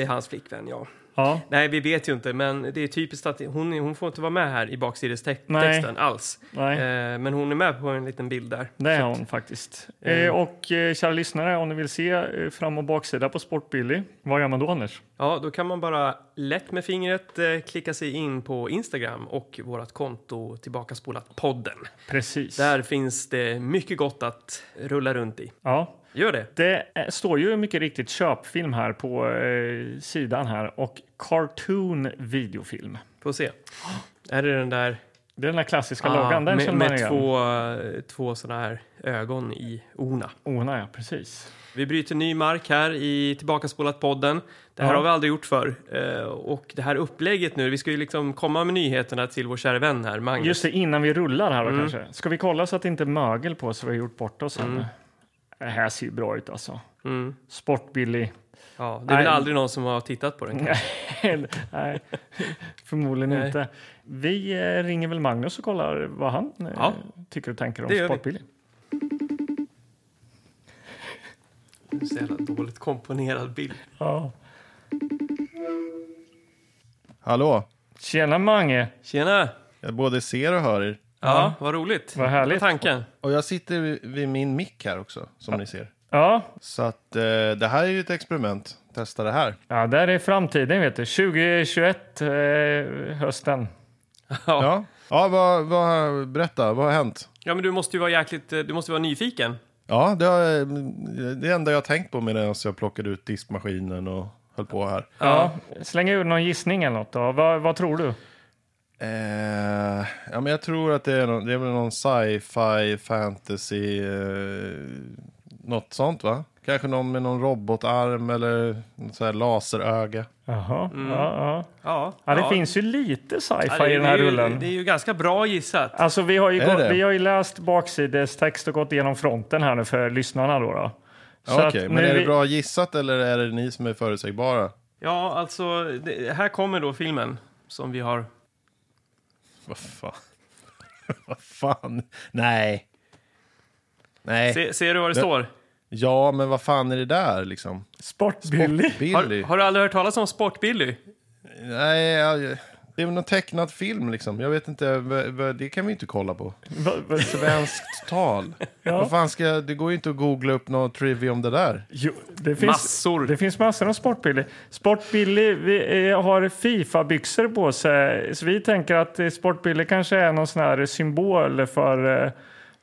[SPEAKER 2] är eh, hans flickvän, ja.
[SPEAKER 1] Ja.
[SPEAKER 2] Nej, vi vet ju inte, men det är typiskt att hon, hon får inte vara med här i baksidestexten
[SPEAKER 1] Nej.
[SPEAKER 2] alls.
[SPEAKER 1] Nej.
[SPEAKER 2] Eh, men hon är med på en liten bild där.
[SPEAKER 1] Det är hon faktiskt. Eh, och eh, kära lyssnare, om ni vill se eh, fram och baksida på Sportbilly, vad gör man då Anders?
[SPEAKER 2] Ja, då kan man bara lätt med fingret eh, klicka sig in på Instagram och vårt konto Tillbaka spolat podden.
[SPEAKER 1] Precis.
[SPEAKER 2] Där finns det mycket gott att rulla runt i.
[SPEAKER 1] Ja.
[SPEAKER 2] Gör det!
[SPEAKER 1] Det eh, står ju mycket riktigt köpfilm här på eh, sidan här och cartoon videofilm.
[SPEAKER 2] Får se. Är det den där
[SPEAKER 1] Det är den där klassiska
[SPEAKER 2] Ah,
[SPEAKER 1] loggan, den
[SPEAKER 2] med,
[SPEAKER 1] känner man
[SPEAKER 2] med
[SPEAKER 1] igen.
[SPEAKER 2] två, eh, två sådana här ögon i orna?
[SPEAKER 1] Oh, nej, precis.
[SPEAKER 2] Vi bryter ny mark här i Tillbakaspolat-podden. Det här
[SPEAKER 1] Ja.
[SPEAKER 2] har vi aldrig gjort förr. Eh, och det här upplägget nu, vi ska ju liksom komma med nyheterna till vår kära vän här, Magnus.
[SPEAKER 1] Just det, innan vi rullar här då
[SPEAKER 2] Mm.
[SPEAKER 1] kanske. Ska vi kolla så att det inte är mögel på så vi har gjort bort oss mm. Det här ser ju bra ut alltså.
[SPEAKER 2] Mm.
[SPEAKER 1] Sportbilly.
[SPEAKER 2] Ja, det är väl
[SPEAKER 1] Nej.
[SPEAKER 2] aldrig någon som har tittat på den kanske?
[SPEAKER 1] nej, förmodligen
[SPEAKER 2] Nej.
[SPEAKER 1] inte. Vi eh, ringer väl Magnus och kollar vad han eh,
[SPEAKER 2] Ja.
[SPEAKER 1] tycker och tänker om
[SPEAKER 2] Det gör vi.
[SPEAKER 1] Sportbilly.
[SPEAKER 2] Det är så jävla dåligt komponerad bild.
[SPEAKER 1] Ja.
[SPEAKER 4] Hallå!
[SPEAKER 1] Tjena Mange!
[SPEAKER 2] Tjena!
[SPEAKER 4] Jag både ser och hör er.
[SPEAKER 2] Ja, vad roligt.
[SPEAKER 1] Vad härligt.
[SPEAKER 2] Det var tanken.
[SPEAKER 4] Och jag sitter vid- vid min mick här också, som ni ser.
[SPEAKER 1] Ja,
[SPEAKER 4] Så att eh, det här är ju ett experiment. Testa det här.
[SPEAKER 1] Ja, där är framtiden, vet du. 2021, eh, hösten.
[SPEAKER 2] Ja.
[SPEAKER 4] Ja, ja vad, vad, berätta, vad har hänt?
[SPEAKER 2] ja, men du måste ju vara jäkligt... eh, Du måste vara nyfiken.
[SPEAKER 4] Ja, det, har, eh, det enda jag har tänkt på medan jag plockade ut diskmaskinen och höll på här.
[SPEAKER 1] Ja. Släng ur någon gissning eller något. Då. Vad, vad tror du?
[SPEAKER 4] Eh, ja, men jag tror att det är någon, det är väl någon sci-fi, fantasy, eh, något sånt va? Kanske någon med någon robotarm eller något så här laseröga.
[SPEAKER 1] Jaha. Ja, ja.
[SPEAKER 2] Mm. Ja,
[SPEAKER 1] ja, det finns ju lite sci-fi
[SPEAKER 2] Ja, det-
[SPEAKER 1] i den här
[SPEAKER 2] det är ju-
[SPEAKER 1] rullen.
[SPEAKER 2] Det är ju ganska bra gissat.
[SPEAKER 1] Alltså, vi har, ju
[SPEAKER 4] Är det
[SPEAKER 1] gått,
[SPEAKER 4] det?
[SPEAKER 1] vi har ju läst baksidestext och gått igenom fronten här nu för lyssnarna. Då, då. Så
[SPEAKER 4] Ja,
[SPEAKER 1] att
[SPEAKER 4] Okej,
[SPEAKER 1] nu
[SPEAKER 4] men är
[SPEAKER 1] vi-
[SPEAKER 4] det bra gissat eller är det ni som är förutsägbara?
[SPEAKER 2] Ja, alltså, det, här kommer då filmen som vi har...
[SPEAKER 4] Vad fan? Vad fan? Nej. Nej.
[SPEAKER 2] Se, ser du vad det
[SPEAKER 4] Det-
[SPEAKER 2] står?
[SPEAKER 4] Ja, men vad fan är det där liksom?
[SPEAKER 1] Sportbilly.
[SPEAKER 4] Billy?
[SPEAKER 2] Har, har du aldrig hört talas om Sport-Billy?
[SPEAKER 4] Nej, jag, det är väl någon tecknad film liksom. Jag vet inte, v- v- det kan vi inte kolla på.
[SPEAKER 1] Va- va-
[SPEAKER 4] Svenskt tal. Vad fan ska jag, det går ju inte att googla upp något trivia om det där.
[SPEAKER 1] Jo, det finns,
[SPEAKER 2] Massor.
[SPEAKER 1] Det finns massor av Sportbilly. Sportbilly vi, eh, har Fifa-byxor på sig, så vi tänker att eh, Sportbilly kanske är någon sån här symbol för, eh,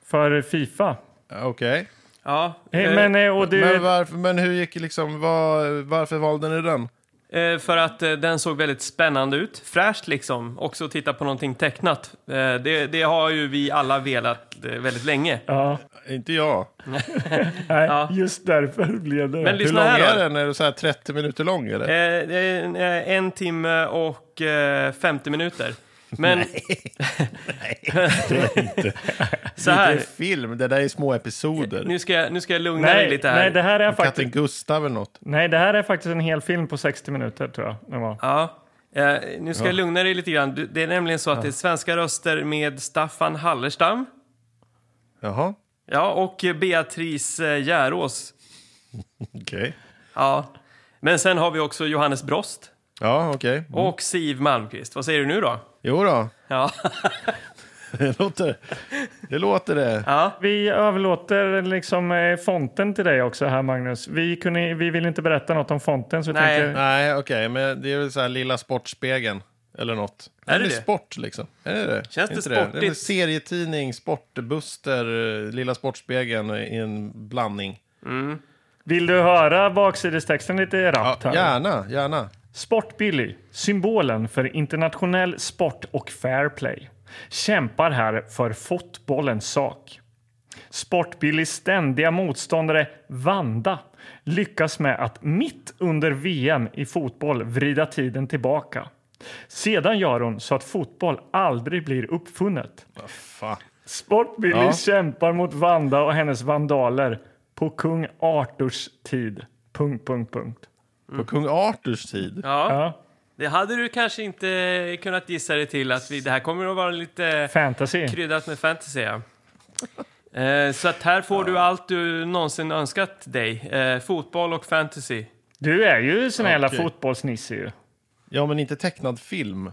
[SPEAKER 1] för Fifa.
[SPEAKER 4] Ja, Okej.
[SPEAKER 2] Ja.
[SPEAKER 1] Eh,
[SPEAKER 2] eh,
[SPEAKER 1] Men, eh, och det,
[SPEAKER 4] Men, varför, men hur gick liksom, var, varför valde ni den?
[SPEAKER 2] Eh, för att eh, den såg väldigt spännande ut. Fräscht liksom. Också att titta på någonting tecknat. Eh, det, det har ju vi alla velat eh, väldigt länge.
[SPEAKER 1] Ja,
[SPEAKER 4] Inte jag.
[SPEAKER 1] nej,
[SPEAKER 2] Ja.
[SPEAKER 1] just därför blev det
[SPEAKER 2] Men
[SPEAKER 1] det.
[SPEAKER 4] Hur
[SPEAKER 2] lyssna
[SPEAKER 4] lång
[SPEAKER 2] här
[SPEAKER 4] är
[SPEAKER 2] då.
[SPEAKER 4] den? Är det så här 30 minuter lång eller?
[SPEAKER 2] Eh, det är en- eh, en timme och eh, 50 minuter. Men... så
[SPEAKER 4] Det är
[SPEAKER 2] här,
[SPEAKER 4] film, det där är små episoder.
[SPEAKER 2] nu ska, jag- nu ska jag lugna dig
[SPEAKER 1] Nej,
[SPEAKER 2] lite här.
[SPEAKER 1] nej, det här är faktiskt,
[SPEAKER 4] Katten Gustav eller något.
[SPEAKER 1] nej, det här är faktiskt en hel film på 60 minuter tror jag. Det var.
[SPEAKER 2] Ja. Eh, nu ska jag lugna dig lite grann. Du- Det är nämligen så att det är svenska röster med Staffan Hallerstam
[SPEAKER 4] Jaha,
[SPEAKER 2] ja, och Beatrice eh, Järås.
[SPEAKER 4] okej.
[SPEAKER 2] Ja. Men sen har vi också Johannes Brost
[SPEAKER 4] Ja, okej. Mm.
[SPEAKER 2] och Siv Malmqvist. Vad säger du nu då?
[SPEAKER 4] Jo då,
[SPEAKER 2] Ja.
[SPEAKER 4] det låter det. Låter det.
[SPEAKER 2] ja.
[SPEAKER 1] Vi överlåter liksom eh, fonten till dig också här Magnus. Vi, kunde, vi vill inte berätta något om fonten så vi
[SPEAKER 2] Nej.
[SPEAKER 1] tänker...
[SPEAKER 4] Nej, okej, men det är väl så här lilla Sportspegeln. Eller något.
[SPEAKER 2] Är det
[SPEAKER 4] eller
[SPEAKER 2] det?
[SPEAKER 4] sport liksom. Är det det?
[SPEAKER 2] Känns det
[SPEAKER 4] Inte Det? är väl
[SPEAKER 2] sportigt?
[SPEAKER 4] serietidning, sportbuster, eh, Lilla Sportspegeln i en blandning.
[SPEAKER 1] Vill du höra baksidestexten lite
[SPEAKER 4] Ja,
[SPEAKER 1] rappt? här?
[SPEAKER 4] gärna, gärna.
[SPEAKER 1] Sportbilly, symbolen för internationell sport och fair play, kämpar här för fotbollens sak. Sportbillys ständiga motståndare Vanda lyckas med att mitt under VM i fotboll vrida tiden tillbaka. Sedan gör hon så att fotboll aldrig blir uppfunnet.
[SPEAKER 4] Fan.
[SPEAKER 1] Sportbilly
[SPEAKER 4] Ja.
[SPEAKER 1] kämpar mot Vanda och hennes vandaler på kung Arturs tid. Punkt, punkt, punkt.
[SPEAKER 4] På kung Arturs tid.
[SPEAKER 2] ja.
[SPEAKER 1] Ja,
[SPEAKER 2] Det hade du kanske inte eh, kunnat gissa dig till att vi, det här kommer att vara lite
[SPEAKER 1] fantasy.
[SPEAKER 2] kryddat med fantasy. Ja. Eh, så att här får du allt du någonsin önskat dig. Eh, fotboll och fantasy.
[SPEAKER 1] Du är ju sån här jävla
[SPEAKER 4] Okej.
[SPEAKER 1] fotbollsnisse ju.
[SPEAKER 4] Ja, men inte tecknad film.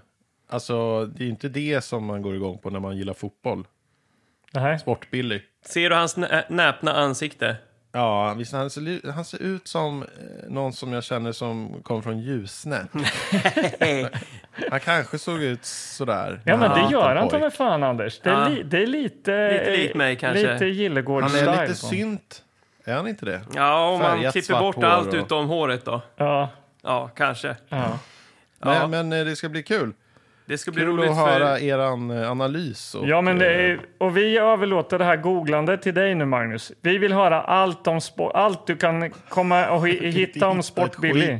[SPEAKER 4] Alltså, det är inte det som man går igång på när man gillar fotboll.
[SPEAKER 1] Nej.
[SPEAKER 4] Sportbilly.
[SPEAKER 2] Ser du hans nä- näpna ansikte?
[SPEAKER 4] Ja, visst, han, ser, han ser ut som eh, någon som jag känner som kom från Ljusne.
[SPEAKER 2] Eh,
[SPEAKER 4] han kanske såg ut sådär.
[SPEAKER 1] Ja, men
[SPEAKER 4] när han var
[SPEAKER 1] det gör
[SPEAKER 4] liten
[SPEAKER 1] han ta
[SPEAKER 4] pojk.
[SPEAKER 1] mig fan, Anders. Det är,
[SPEAKER 2] Ja.
[SPEAKER 1] li, det är lite...
[SPEAKER 2] Lite lik mig, kanske.
[SPEAKER 1] Lite
[SPEAKER 4] Han
[SPEAKER 1] Gillegård-style.
[SPEAKER 4] är lite
[SPEAKER 1] på
[SPEAKER 4] synt. Är han inte det?
[SPEAKER 2] Ja, om man
[SPEAKER 4] Färgat
[SPEAKER 2] klipper
[SPEAKER 4] svart
[SPEAKER 2] bort
[SPEAKER 4] hår
[SPEAKER 2] allt
[SPEAKER 4] och-
[SPEAKER 2] utom håret då.
[SPEAKER 1] honom.
[SPEAKER 2] Ja, kanske.
[SPEAKER 1] Ja,
[SPEAKER 4] Men, men eh, det ska bli kul.
[SPEAKER 2] Det ska bli
[SPEAKER 4] Kul
[SPEAKER 2] roligt
[SPEAKER 4] att höra
[SPEAKER 2] för...
[SPEAKER 4] eran er analys.
[SPEAKER 1] ja.
[SPEAKER 4] Och,
[SPEAKER 1] ja, men det
[SPEAKER 4] eh,
[SPEAKER 1] är, och vi överlåter det här googlandet till dig nu, Magnus. Vi vill höra allt om sport, allt du kan komma och hi- hitta om Sportbilly.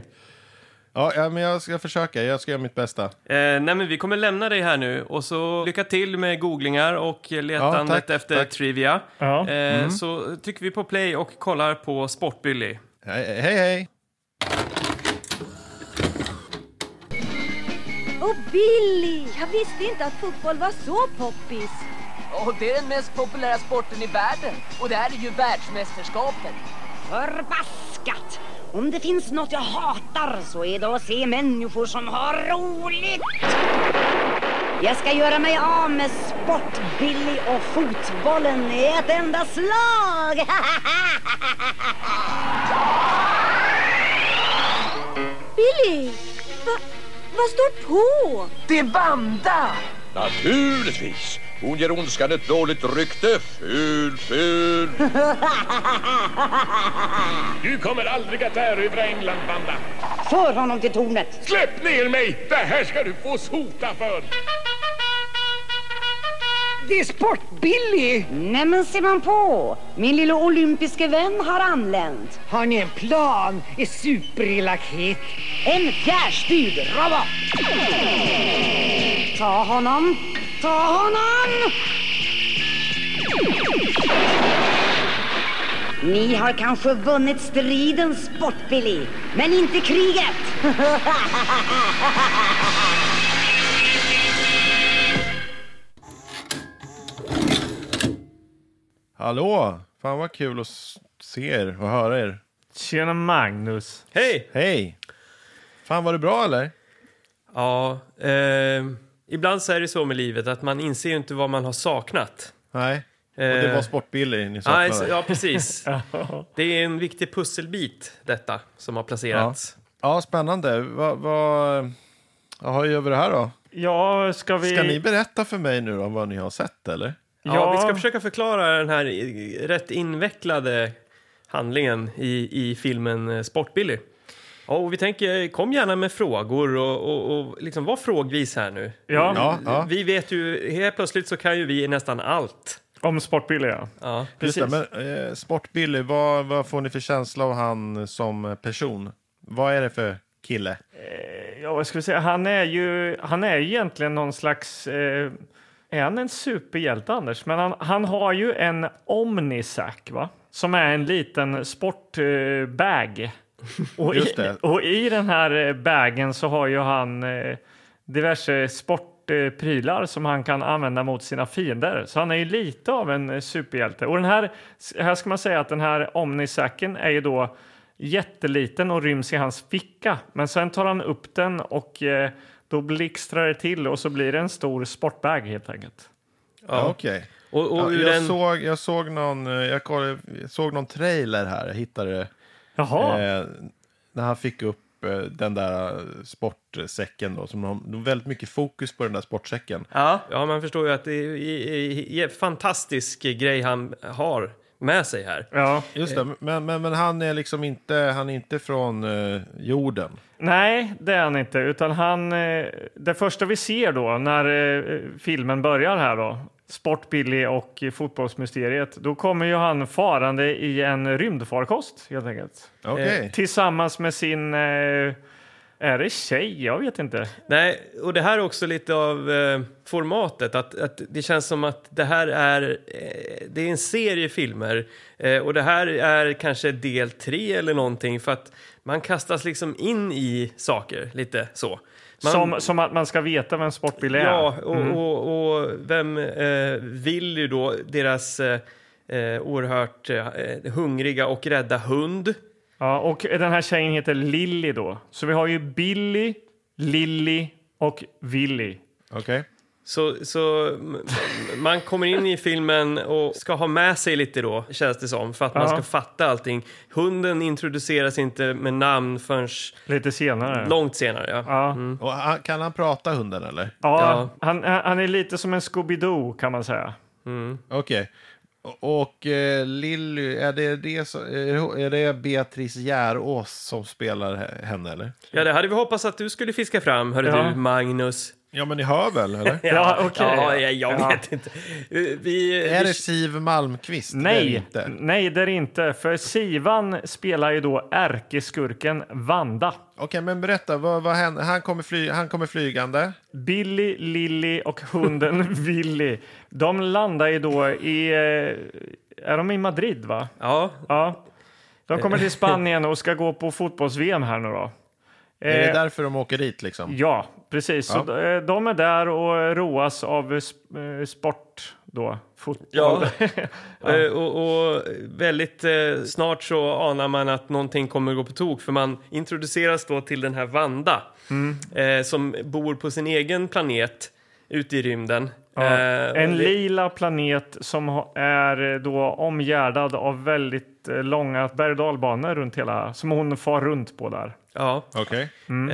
[SPEAKER 4] Ja, ja, men jag ska försöka. Jag ska göra mitt bästa.
[SPEAKER 2] Eh, nej, men vi kommer lämna dig här nu och så lycka till med googlingar och letandet
[SPEAKER 4] Ja, tack,
[SPEAKER 2] efter
[SPEAKER 4] tack. Mm.
[SPEAKER 2] trivia.
[SPEAKER 1] Ja.
[SPEAKER 2] Eh, Så trycker vi på play och kollar på Sportbilly.
[SPEAKER 4] Hej, hej! hej.
[SPEAKER 5] Och Billy! Jag visste inte att fotboll var så poppis.
[SPEAKER 6] Och det är den mest populära sporten i världen. Och det här är ju världsmästerskapet.
[SPEAKER 7] Förbaskat! Om det finns något jag hatar så är det att se människor som har roligt! Jag ska göra mig av med sport, Billy och fotbollen i ett enda slag!
[SPEAKER 5] Billy! Va, vad står på?
[SPEAKER 6] Det är Vanda!
[SPEAKER 8] Naturligtvis! Hon ger ondskan ett dåligt rykte. Ful, ful.
[SPEAKER 9] Du kommer aldrig att erövra England, Vanda.
[SPEAKER 7] För honom till tornet!
[SPEAKER 9] Släpp ner mig! Det här ska du få sota för.
[SPEAKER 6] Det är Sport-Billy!
[SPEAKER 7] Nämen ser man på! Min lilla olympiske vän har anlänt.
[SPEAKER 6] Har ni en plan? Är superelak het?
[SPEAKER 7] En fjärrstyrd robot! Ta honom! Ta honom! Ni har kanske vunnit striden, Sportbilly, men inte kriget!
[SPEAKER 4] Hallå! Fan vad kul att s- se er och höra er.
[SPEAKER 1] Tjena, Magnus.
[SPEAKER 2] Hej!
[SPEAKER 4] Hej! Fan, var det bra eller?
[SPEAKER 2] Ja, eh, ibland så är det så med livet att man inser ju inte vad man har saknat.
[SPEAKER 4] Nej. Och det
[SPEAKER 2] Eh.
[SPEAKER 4] var Sportbilly ni
[SPEAKER 2] Ja,
[SPEAKER 4] saknade.
[SPEAKER 2] alltså, ja precis. Det är en viktig pusselbit, detta, som har placerats.
[SPEAKER 4] Ja, spännande. Vad va, vad gör vi det här då?
[SPEAKER 1] Ja, ska vi...
[SPEAKER 4] Ska ni berätta för mig nu om vad ni har sett eller?
[SPEAKER 2] Ja. vi ska försöka förklara den här eh, rätt invecklade handlingen i, i filmen eh, Sportbilly. Ja, och vi tänker, kom gärna med frågor och, och, och liksom var frågvis här nu.
[SPEAKER 1] Ja,
[SPEAKER 4] Ja, ja.
[SPEAKER 2] Vi vet ju, helt plötsligt så kan ju vi nästan allt.
[SPEAKER 1] om sportbilar ja.
[SPEAKER 2] Ja,
[SPEAKER 4] Just det, men, eh, Sport-Billy, vad, vad får ni för känsla av han som person? Vad är det för kille?
[SPEAKER 1] Ja, vad ska vi säga? Han är ju han är ju egentligen någon slags... Eh, är han en superhjälte, Anders? Men han, han har ju en Omnisac, va? Som är en liten sportbag. Eh, bag. och, i,
[SPEAKER 4] Just det.
[SPEAKER 1] och i den här eh, bagen så har ju han eh, diverse sportprylar som han kan använda mot sina fiender. Så han är ju lite av en eh, superhjälte. Och den här, här ska man säga att den här Omnisacen är ju då jätteliten och ryms i hans ficka. Men sen tar han upp den och eh, då blixtrar det till och så blir det en stor sportbag helt enkelt.
[SPEAKER 4] Ja, Okej.
[SPEAKER 2] Och, och
[SPEAKER 4] Ja,
[SPEAKER 2] ur
[SPEAKER 4] jag,
[SPEAKER 2] en,
[SPEAKER 4] såg, jag, såg någon, eh, jag, kollade, jag såg någon trailer här, jag hittade det.
[SPEAKER 1] Jaha,
[SPEAKER 4] Eh, när han fick upp eh, den där eh, sportsäcken då. Som de, det var väldigt mycket fokus på den där sportsäcken.
[SPEAKER 2] ja. ja, man förstår ju att det är, är, är, är en fantastisk grej han har med sig här.
[SPEAKER 1] ja.
[SPEAKER 4] Just det, men, men, men han är liksom inte, han är inte från eh, jorden.
[SPEAKER 1] Nej, det är han inte. Utan han, eh, det första vi ser då när eh, filmen börjar här då, Sport Billy och eh, fotbollsmysteriet, då kommer ju han farande i en rymdfarkost helt enkelt.
[SPEAKER 4] Okej.
[SPEAKER 1] Tillsammans med sin, eh, är det tjej? Jag vet inte.
[SPEAKER 2] Nej, och det här är också lite av eh, formatet. Att, att det känns som att det här är, eh, det är en serie filmer eh, och det här är kanske del tre eller någonting för att man kastas liksom in i saker lite så. Man,
[SPEAKER 1] Som, som att man ska veta vem Sport Billy är. Mm.
[SPEAKER 2] Ja, och, och, och vem eh, vill ju då deras eh, eh, oerhört eh, hungriga och rädda hund?
[SPEAKER 1] Ja, och den här tjejen heter Lilly då. Så vi har ju Billy, Lilly och Willy.
[SPEAKER 4] Okej.
[SPEAKER 2] Så, så m- man kommer in i filmen och ska ha med sig lite då, känns det som, för att man
[SPEAKER 1] Ja.
[SPEAKER 2] ska fatta allting. Hunden introduceras inte med namn förrän
[SPEAKER 1] Lite senare.
[SPEAKER 2] långt senare. Ja.
[SPEAKER 1] Ja.
[SPEAKER 4] Mm. Och han, kan han prata hunden eller?
[SPEAKER 1] Ja, Han, han är lite som en Scooby-Doo kan man säga.
[SPEAKER 4] Okej. Och, och eh, Lilly, är det, det som, är det- är det Beatrice Järås som spelar he- henne eller?
[SPEAKER 2] ja, det hade vi hoppats att du skulle fiska fram, hörru
[SPEAKER 1] Ja.
[SPEAKER 2] du, Magnus.
[SPEAKER 4] Ja men ni hör väl eller?
[SPEAKER 2] Ja,
[SPEAKER 1] okej.
[SPEAKER 2] ja, jag, jag
[SPEAKER 1] Ja.
[SPEAKER 2] vet inte. Vi, vi,
[SPEAKER 4] Är det Siv Malmqvist?
[SPEAKER 1] Nej,
[SPEAKER 4] Det är det inte.
[SPEAKER 1] nej det är det inte. För Sivan spelar ju då ärkeskurken Vanda.
[SPEAKER 4] Okej, men berätta. Vad, vad händer? Han, kommer fly, han kommer flygande.
[SPEAKER 1] Billy, Lilly och hunden Willy. De landar ju då i... eh, Är de i Madrid va?
[SPEAKER 2] ja,
[SPEAKER 1] Ja. De kommer till Spanien och ska gå på fotbolls-VM här nu då.
[SPEAKER 4] Är det
[SPEAKER 1] Eh,
[SPEAKER 4] därför de åker dit liksom?
[SPEAKER 1] Ja, precis. Så d- eh, de är där och roas av eh, sp- eh, sport då. Fotboll.
[SPEAKER 2] Ja. Eh, Och, och väldigt eh, snart så anar man att någonting kommer gå på tok för man introduceras då till den här Vanda
[SPEAKER 1] Mm.
[SPEAKER 2] eh, som bor på sin egen planet ute i rymden.
[SPEAKER 1] Ja,
[SPEAKER 2] Eh, och
[SPEAKER 1] en
[SPEAKER 2] det-
[SPEAKER 1] lila planet som ha- är eh, då omgärdad av väldigt eh, långa berg och dalbanor runt hela, som hon far runt på där.
[SPEAKER 2] Ja,
[SPEAKER 4] Okej.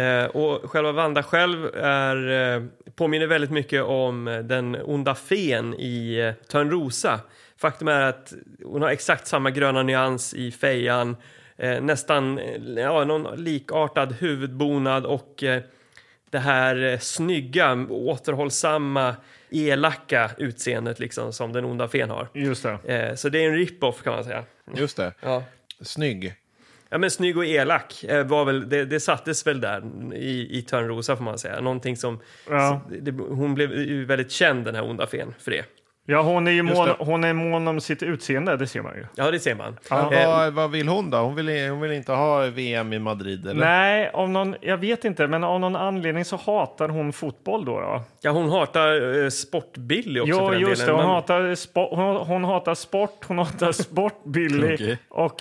[SPEAKER 2] eh, och själva Vanda själv är, eh, påminner väldigt mycket om eh, den onda fen i eh, Törnrosa. Faktum är att hon har exakt samma gröna nyans i fejan, eh, nästan eh, ja, någon likartad huvudbonad och eh, det här eh, snygga, återhållsamma, elaka utseendet liksom, som den onda fen har.
[SPEAKER 1] Just det.
[SPEAKER 2] Eh, så det är en rip-off kan man säga.
[SPEAKER 4] Just det.
[SPEAKER 2] Ja.
[SPEAKER 4] Snygg.
[SPEAKER 2] Ja, men snygg och elak eh, var väl, det, det sattes väl där i, i Törnrosa får man säga. Någonting som,
[SPEAKER 1] Ja.
[SPEAKER 2] så det, hon blev ju väldigt känd den här onda fen för det.
[SPEAKER 1] Ja, hon är ju
[SPEAKER 4] Just
[SPEAKER 1] mån,
[SPEAKER 4] det.
[SPEAKER 1] hon är mån om sitt utseende, det ser man ju.
[SPEAKER 2] Ja, det ser man. Eh,
[SPEAKER 4] Men vad, vad vill hon då? Hon vill, hon vill inte ha VM i Madrid eller?
[SPEAKER 1] Nej, av någon, jag vet inte, men av någon anledning så hatar hon fotboll då. då.
[SPEAKER 2] Ja, hon hatar eh, sportbilly också
[SPEAKER 1] Ja,
[SPEAKER 2] för den
[SPEAKER 1] just det.
[SPEAKER 2] delen.
[SPEAKER 1] Hon,
[SPEAKER 2] Man-
[SPEAKER 1] hatar spo- hon, hon hatar sport, hon hatar sport, Billy.
[SPEAKER 4] Okej.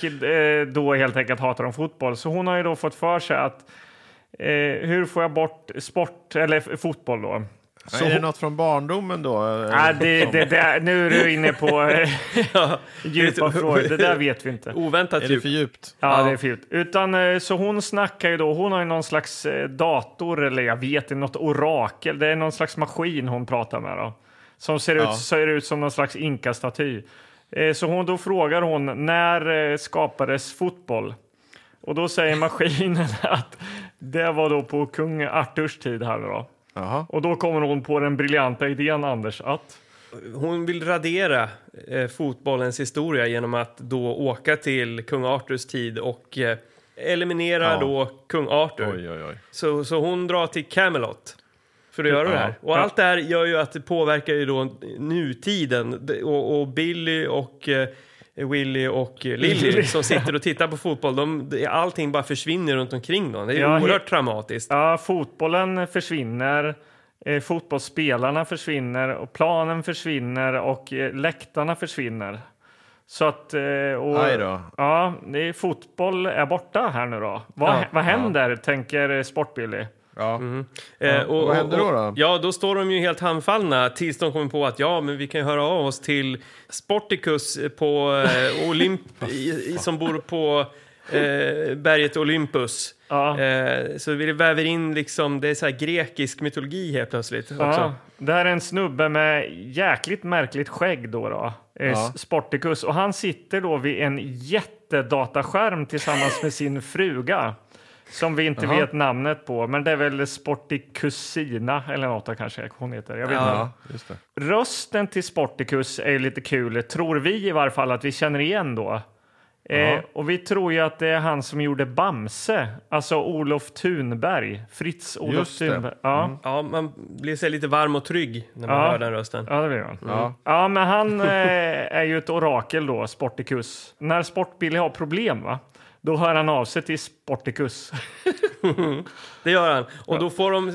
[SPEAKER 1] Och eh, då helt enkelt hatar hon fotboll. Så hon har ju då fått för sig att eh, hur får jag bort sport, eller f- fotboll då?
[SPEAKER 4] Så är det något från barndomen då?
[SPEAKER 1] Ah, det, det, där- nu är du inne på eh,
[SPEAKER 2] Ja.
[SPEAKER 1] djupa frågor. Det där vet vi inte.
[SPEAKER 2] Oväntat typ.
[SPEAKER 4] Är det
[SPEAKER 2] djup.
[SPEAKER 4] för djupt?
[SPEAKER 1] Ja,
[SPEAKER 2] Ja.
[SPEAKER 1] det är fint. Utan, eh, så hon snackar ju då, hon har ju någon slags eh, dator eller jag vet inte, något orakel. Det är någon slags maskin hon pratar med då. Som ser,
[SPEAKER 4] Ja.
[SPEAKER 1] ut, ser ut som någon slags inkastaty. Eh, Så hon, då frågar hon, när eh, skapades fotboll? Och då säger maskinen att det var då på kung Arturs tid här nu då.
[SPEAKER 4] Jaha.
[SPEAKER 1] Och då kommer hon på den briljanta idén Anders att
[SPEAKER 2] Hon vill radera eh, fotbollens historia genom att då åka till kung Arturs tid och eh, eliminera
[SPEAKER 4] Ja.
[SPEAKER 2] då kung Arthur.
[SPEAKER 4] Oj, oj, oj.
[SPEAKER 2] Så, så hon drar till Camelot för att göra det här. Och
[SPEAKER 1] Ja.
[SPEAKER 2] allt det här gör ju att det påverkar ju då nutiden. Det- Och, och Billy och eh, Willy och eh, Lily som sitter och tittar på fotboll, de, det- allting bara försvinner runt omkring dem. Det är
[SPEAKER 1] Ja, he-
[SPEAKER 2] oerhört traumatiskt.
[SPEAKER 1] ja, fotbollen försvinner, eh, fotbollsspelarna försvinner och planen försvinner och eh, läktarna försvinner. Så att... Eh, och,
[SPEAKER 4] Aj då.
[SPEAKER 1] Ja, det är, fotboll är borta här nu då. Vad,
[SPEAKER 2] Ja.
[SPEAKER 1] vad händer, tänker eh, Sportbilly.
[SPEAKER 4] Ja.
[SPEAKER 2] Eh, och,
[SPEAKER 4] vad händer då då?
[SPEAKER 2] Ja, då står de ju helt handfallna tills de kommer på att ja, men vi kan ju höra av oss till Sporticus på eh, Olymp... i, i, som bor på eh, berget Olympus.
[SPEAKER 1] Ja.
[SPEAKER 2] Eh, så vi väver in liksom, det är så här grekisk mytologi helt plötsligt också.
[SPEAKER 1] Ja, det här är en snubbe med jäkligt märkligt skägg då. då. Eh,
[SPEAKER 4] Ja.
[SPEAKER 1] Sporticus. Och han sitter då vid en jättedataskärm tillsammans med sin fruga. Som vi inte vet namnet på, men det är väl Sporticusina eller något kanske hon heter. Jag vet inte.
[SPEAKER 4] Ja, just det.
[SPEAKER 1] Rösten till Sporticus är ju lite kul, tror vi i varje fall att vi känner igen då. Eh, och vi tror ju att det är han som gjorde Bamse, alltså Olof Thunberg, Fritz Olof
[SPEAKER 4] Just det. Mm.
[SPEAKER 1] Thunberg. Ja.
[SPEAKER 2] Ja, man blir så här lite varm och trygg när man
[SPEAKER 1] Ja.
[SPEAKER 2] hör den rösten.
[SPEAKER 1] Ja, det blir
[SPEAKER 2] Mm.
[SPEAKER 1] han.
[SPEAKER 4] Ja.
[SPEAKER 1] Ja, men han eh, är ju ett orakel då, Sporticus. När Sportbilly har problem, va? Då hör han av sig till Sporticus.
[SPEAKER 2] Det gör han. Och då får de,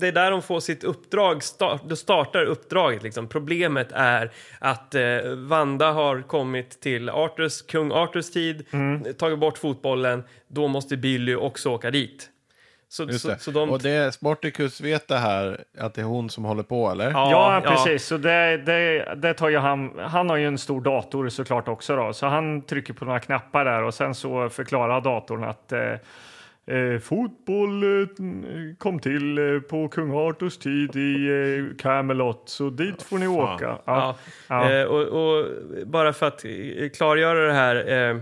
[SPEAKER 2] det är där de får sitt uppdrag, start, då startar uppdraget. Liksom. Problemet är att eh, Vanda har kommit till Arthurs, kung Arthurs tid,
[SPEAKER 4] Mm.
[SPEAKER 2] tagit bort fotbollen, då måste Billy också åka dit. Så,
[SPEAKER 4] Just
[SPEAKER 2] så,
[SPEAKER 4] det.
[SPEAKER 2] så de...
[SPEAKER 4] Och det är Sporticus vet det här, att det är hon som håller på, eller?
[SPEAKER 1] Ja, precis. Så det, det, det tar ju han. Han har ju en stor dator såklart också då, så han trycker på några knappar där och sen så förklarar datorn att eh, eh, fotboll eh, kom till eh, på kung Arturs tid i eh, Camelot, så dit får ni åka.
[SPEAKER 2] Ja. Eh, och, och bara för att eh, klargöra det här eh,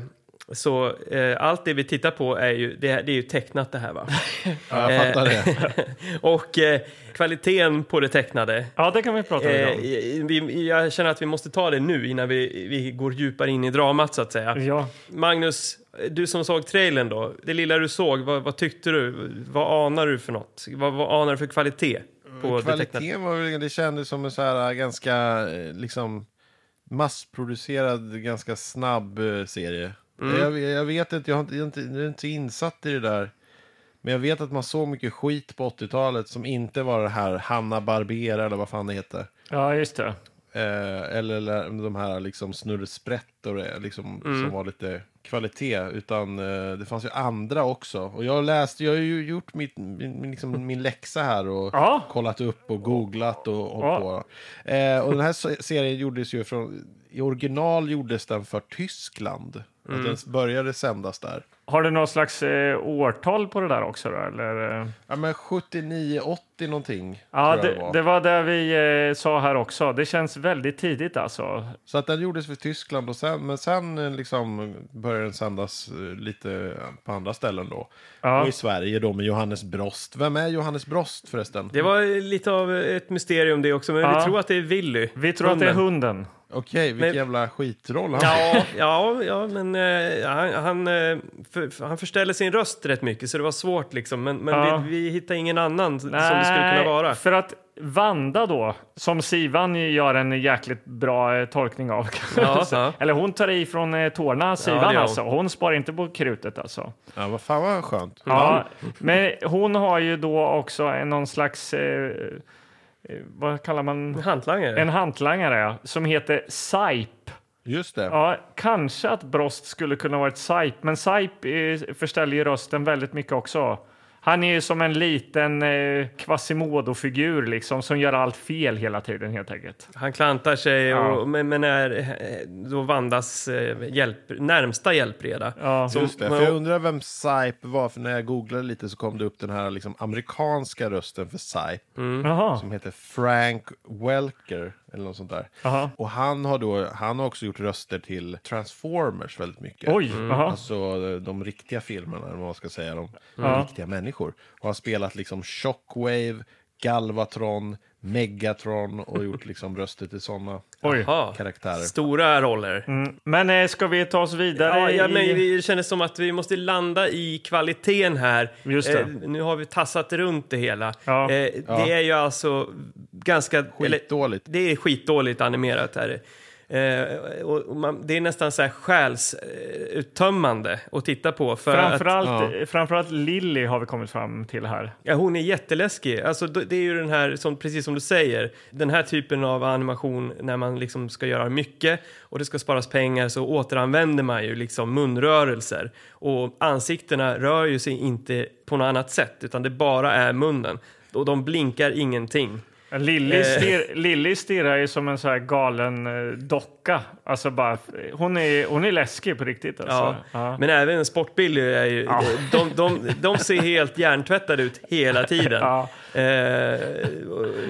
[SPEAKER 2] så eh, allt det vi tittar på är ju, det, det är ju tecknat det här va?
[SPEAKER 4] Ja, jag fattar det.
[SPEAKER 2] och eh, kvaliteten på det tecknade
[SPEAKER 1] ja det kan vi prata lite
[SPEAKER 2] Eh,
[SPEAKER 1] om.
[SPEAKER 2] vi, jag känner att vi måste ta det nu innan vi, vi går djupare in i dramat så att säga.
[SPEAKER 1] Ja.
[SPEAKER 2] Magnus, du som såg trailern då, det lilla du såg, vad, vad tyckte du? Vad anar du för något? Vad, vad anar du för kvalitet?
[SPEAKER 1] Mm,
[SPEAKER 2] På Kvalitet?
[SPEAKER 4] Kvaliteten var väl, det kändes som en så här äh, ganska eh, liksom massproducerad, ganska snabb eh, serie. Jag, jag vet inte jag, har inte, jag är inte, jag är inte insatt i det där. Men jag vet att man såg mycket skit på 80-talet som inte var det här Hanna Barbera eller vad fan det heter.
[SPEAKER 1] ja, just det.
[SPEAKER 4] Eh, eller, eller de här liksom snurrsprätt och det, liksom,
[SPEAKER 1] Mm.
[SPEAKER 4] som var lite kvalitet. Utan eh, det fanns ju andra också. Och jag läste, jag har ju gjort mitt, min, min, liksom, min läxa här och
[SPEAKER 1] Ja.
[SPEAKER 4] kollat upp och googlat och hållit
[SPEAKER 1] Ja.
[SPEAKER 4] på. Eh, och den här se- serien gjordes ju från, i original gjordes den för Tyskland.
[SPEAKER 1] Mm.
[SPEAKER 4] Att den började sändas där.
[SPEAKER 1] Har du någon slags eh, årtal på det där också? Då, eller? eh?
[SPEAKER 4] Ja men 79-80 någonting.
[SPEAKER 1] Ja,
[SPEAKER 4] tror jag det
[SPEAKER 1] det, det var det vi eh, sa här också. Det känns väldigt tidigt alltså.
[SPEAKER 4] Så att den gjordes för Tyskland och sen, men sen eh, liksom började den sändas eh, lite på andra ställen då.
[SPEAKER 1] Ja.
[SPEAKER 4] Och i Sverige då med Johannes Brost. Vem är Johannes Brost förresten?
[SPEAKER 2] Det var lite av ett mysterium det också, men
[SPEAKER 1] Ja.
[SPEAKER 2] vi tror att det är Willy.
[SPEAKER 1] Vi tror att det är
[SPEAKER 2] hunden.
[SPEAKER 1] hunden.
[SPEAKER 4] Okej, vilken
[SPEAKER 2] Men-
[SPEAKER 4] jävla skitroll han fick.
[SPEAKER 2] Ja, ja, ja, men eh, han, han, eh, för, för- han förställde sin röst rätt mycket så det var svårt liksom. Men, men
[SPEAKER 1] Ja.
[SPEAKER 2] vi, vi hittade ingen annan som det skulle kunna vara.
[SPEAKER 1] för att Vanda då, som Sivan ju gör en jäkligt bra eh, tolkning av. kan
[SPEAKER 2] Ja,
[SPEAKER 1] man säga.
[SPEAKER 2] ja.
[SPEAKER 1] Eller hon tar i från eh, tårna,
[SPEAKER 2] det
[SPEAKER 1] Sivan
[SPEAKER 2] gör hon. Mm.
[SPEAKER 1] alltså. Hon sparar inte på krutet alltså.
[SPEAKER 4] Ja, vad fan vad skönt.
[SPEAKER 1] Ja, men hon har ju då också en, någon slags, eh, eh, vad kallar
[SPEAKER 2] Mm.
[SPEAKER 1] man?
[SPEAKER 2] Hantlangare.
[SPEAKER 1] En hantlangare ja, som heter Saip.
[SPEAKER 4] Just det.
[SPEAKER 1] Ja, kanske att Brost skulle kunna vara ett Saip, men Saip eh, förställer ju rösten väldigt mycket också. Han är ju som en liten eh, Quasimodo-figur liksom, som gör allt fel hela tiden helt enkelt.
[SPEAKER 2] Han klantar sig,
[SPEAKER 1] Ja.
[SPEAKER 2] och, men, men är eh, då Vandas eh, hjälp, närmsta hjälpreda.
[SPEAKER 1] Ja.
[SPEAKER 2] Så-
[SPEAKER 4] Just det.
[SPEAKER 2] men-
[SPEAKER 4] För jag undrar vem Sipe var, för när jag googlade lite så kom det upp den här
[SPEAKER 1] Mm.
[SPEAKER 4] liksom amerikanska rösten för Sipe.
[SPEAKER 1] Jaha.
[SPEAKER 4] Som heter Frank Welker. eller något sånt där.
[SPEAKER 1] Aha.
[SPEAKER 4] Och han har, då, han har också gjort röster till Transformers väldigt mycket.
[SPEAKER 1] Oj,
[SPEAKER 2] Mm.
[SPEAKER 1] aha.
[SPEAKER 4] Alltså de riktiga filmerna, eller vad man ska säga, de, de
[SPEAKER 1] Ja.
[SPEAKER 4] riktiga människor. Och har spelat liksom Shockwave, Galvatron, Megatron och gjort liksom röster till sådana
[SPEAKER 1] Oj.
[SPEAKER 2] Ja,
[SPEAKER 4] karaktärer.
[SPEAKER 2] stora roller.
[SPEAKER 1] Mm. Men eh, ska vi ta oss vidare?
[SPEAKER 2] Ja, ja, men
[SPEAKER 1] i...
[SPEAKER 2] det kändes som att vi måste landa i kvaliteten här.
[SPEAKER 1] Just det.
[SPEAKER 2] Eh, nu har vi tassat runt det hela.
[SPEAKER 1] Ja.
[SPEAKER 2] Eh, det
[SPEAKER 4] Ja.
[SPEAKER 2] är ju alltså ganska...
[SPEAKER 4] Skitdåligt.
[SPEAKER 2] Eller, det är skitdåligt animerat här. Eh, och och man, det är nästan så här själsuttömmande att titta på. För att,
[SPEAKER 1] Framförallt, framförallt Lilly har vi kommit fram till här.
[SPEAKER 2] Ja, hon är jätteläskig. Alltså, d- det är ju den här, som, precis som du säger, den här typen av animation när man liksom ska göra mycket och det ska sparas pengar så återanvänder man ju liksom munrörelser och ansiktena rör ju sig inte på något annat sätt utan det bara är munnen och de blinkar ingenting. Eh.
[SPEAKER 1] Lilly stir, Lilly stirrar ju som en så här galen eh, docka. Alltså bara, hon, är, hon är läskig på riktigt. Alltså.
[SPEAKER 2] Ja.
[SPEAKER 1] Ja.
[SPEAKER 2] Men även Sportbilly är ju, de, de, de ser helt hjärntvättade ut hela tiden.
[SPEAKER 1] Ja.
[SPEAKER 2] Eh,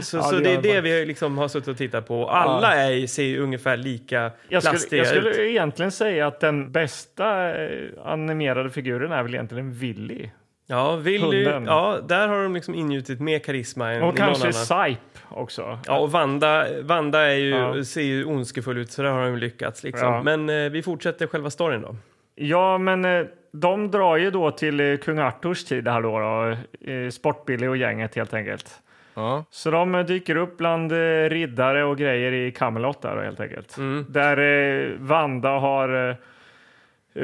[SPEAKER 2] så,
[SPEAKER 1] Ja,
[SPEAKER 2] så
[SPEAKER 1] det
[SPEAKER 2] det
[SPEAKER 1] gör
[SPEAKER 2] är
[SPEAKER 1] de.
[SPEAKER 2] det vi liksom har suttit och tittat på. Alla är, ju- ser ju ungefär lika
[SPEAKER 1] Jag skulle,
[SPEAKER 2] plastiga
[SPEAKER 1] jag skulle
[SPEAKER 2] ut.
[SPEAKER 1] egentligen säga att den bästa eh, animerade figuren är väl egentligen Willy.
[SPEAKER 2] Ja, Willy,
[SPEAKER 1] Hunden.
[SPEAKER 2] ja, där har de liksom ingjutit mer karisma än
[SPEAKER 1] Och
[SPEAKER 2] någon
[SPEAKER 1] kanske
[SPEAKER 2] annan.
[SPEAKER 1] Sipe också.
[SPEAKER 2] Ja, och Vanda, Vanda är ju,
[SPEAKER 1] Ja.
[SPEAKER 2] ser ju ondskefull ut, så där har de lyckats. Liksom.
[SPEAKER 1] Ja.
[SPEAKER 2] Men eh, vi fortsätter själva storyn då.
[SPEAKER 1] Ja, men eh, de drar ju då till eh, kung Arturs tid här då. då eh, Sportbilly och gänget helt enkelt.
[SPEAKER 4] Ja.
[SPEAKER 1] Så de eh, dyker upp bland eh, riddare och grejer i Camelot där då, helt enkelt.
[SPEAKER 2] Mm.
[SPEAKER 1] Där eh, Vanda har eh,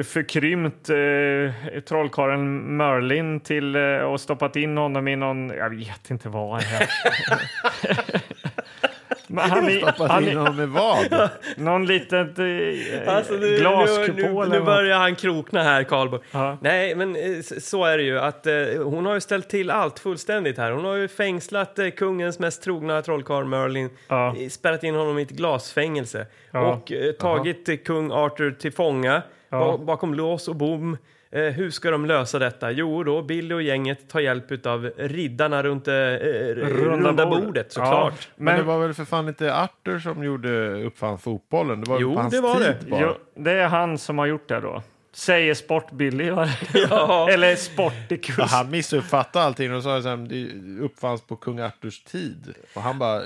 [SPEAKER 1] förkrympt eh, trollkarlen Merlin till eh, och stoppat in honom i någon, jag vet inte vad. det är. Men han är,
[SPEAKER 4] Stoppat
[SPEAKER 1] han
[SPEAKER 4] in
[SPEAKER 1] är
[SPEAKER 4] honom med vad?
[SPEAKER 1] någon litet eh,
[SPEAKER 2] Alltså, nu,
[SPEAKER 1] glaskupol.
[SPEAKER 2] nu, nu,
[SPEAKER 1] eller
[SPEAKER 2] nu
[SPEAKER 1] något.
[SPEAKER 2] börjar han krokna här, Karlborg.
[SPEAKER 1] Ja.
[SPEAKER 2] Nej, men eh, s- så är det ju. Att, eh, hon har ju ställt till allt fullständigt här. Hon har ju fängslat eh, kungens mest trogna trollkarl Merlin,
[SPEAKER 1] Ja.
[SPEAKER 2] eh, spärrat in honom i ett glasfängelse
[SPEAKER 1] Ja.
[SPEAKER 2] och eh, tagit eh, kung Arthur till fånga ba- bakom lås och bom. Eh, hur ska de lösa detta? Jo, då Billy och gänget tar hjälp av riddarna runt eh, runda, runda
[SPEAKER 1] bordet.
[SPEAKER 2] bordet
[SPEAKER 1] Ja.
[SPEAKER 2] såklart.
[SPEAKER 4] Men, det var väl för fan inte Arthur som gjorde uppfann fotbollen? Det var
[SPEAKER 2] Jo,
[SPEAKER 4] på hans
[SPEAKER 2] det var
[SPEAKER 4] tid
[SPEAKER 2] det.
[SPEAKER 4] bara.
[SPEAKER 1] Jo, det är han som har gjort det då. Säger Sport-Billy, va?
[SPEAKER 2] Ja.
[SPEAKER 1] Eller Sportikus.
[SPEAKER 4] Ja, han missuppfattade allting och sa att det uppfanns på kung Arturs tid. Och han bara,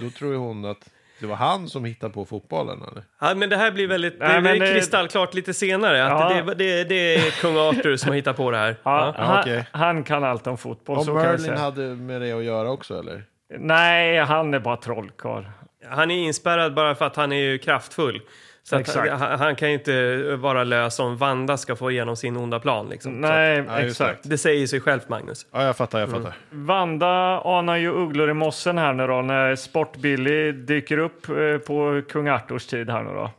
[SPEAKER 4] då tror ju hon att det var han som hittade på fotbollen. Eller?
[SPEAKER 2] Ja, men det här blir väldigt
[SPEAKER 1] Nej,
[SPEAKER 2] det,
[SPEAKER 1] men
[SPEAKER 2] blir
[SPEAKER 1] det-
[SPEAKER 2] kristallklart lite senare. Att
[SPEAKER 1] Ja.
[SPEAKER 2] det, det, det är kung Arthur som har hittat på det här.
[SPEAKER 1] Ja,
[SPEAKER 4] Ja,
[SPEAKER 1] han,
[SPEAKER 4] okej.
[SPEAKER 1] han kan allt om fotboll.
[SPEAKER 4] Och
[SPEAKER 1] så kan jag
[SPEAKER 4] Merlin
[SPEAKER 1] säga.
[SPEAKER 4] hade med det att göra också eller?
[SPEAKER 1] Nej, han är bara trollkarl.
[SPEAKER 2] Han är inspärrad bara för att han är ju kraftfull. Så att
[SPEAKER 1] Exakt.
[SPEAKER 2] han, han kan ju inte vara lös om Vanda ska få igenom sin onda plan. Liksom.
[SPEAKER 1] Nej,
[SPEAKER 4] ja, just
[SPEAKER 1] exakt.
[SPEAKER 2] Så att det säger sig självt, Magnus.
[SPEAKER 4] Ja, jag fattar, jag fattar.
[SPEAKER 1] Vanda anar ju ugglor i mossen här nu då när Sport-Billy dyker upp eh, på kung Arturs tid här nu då.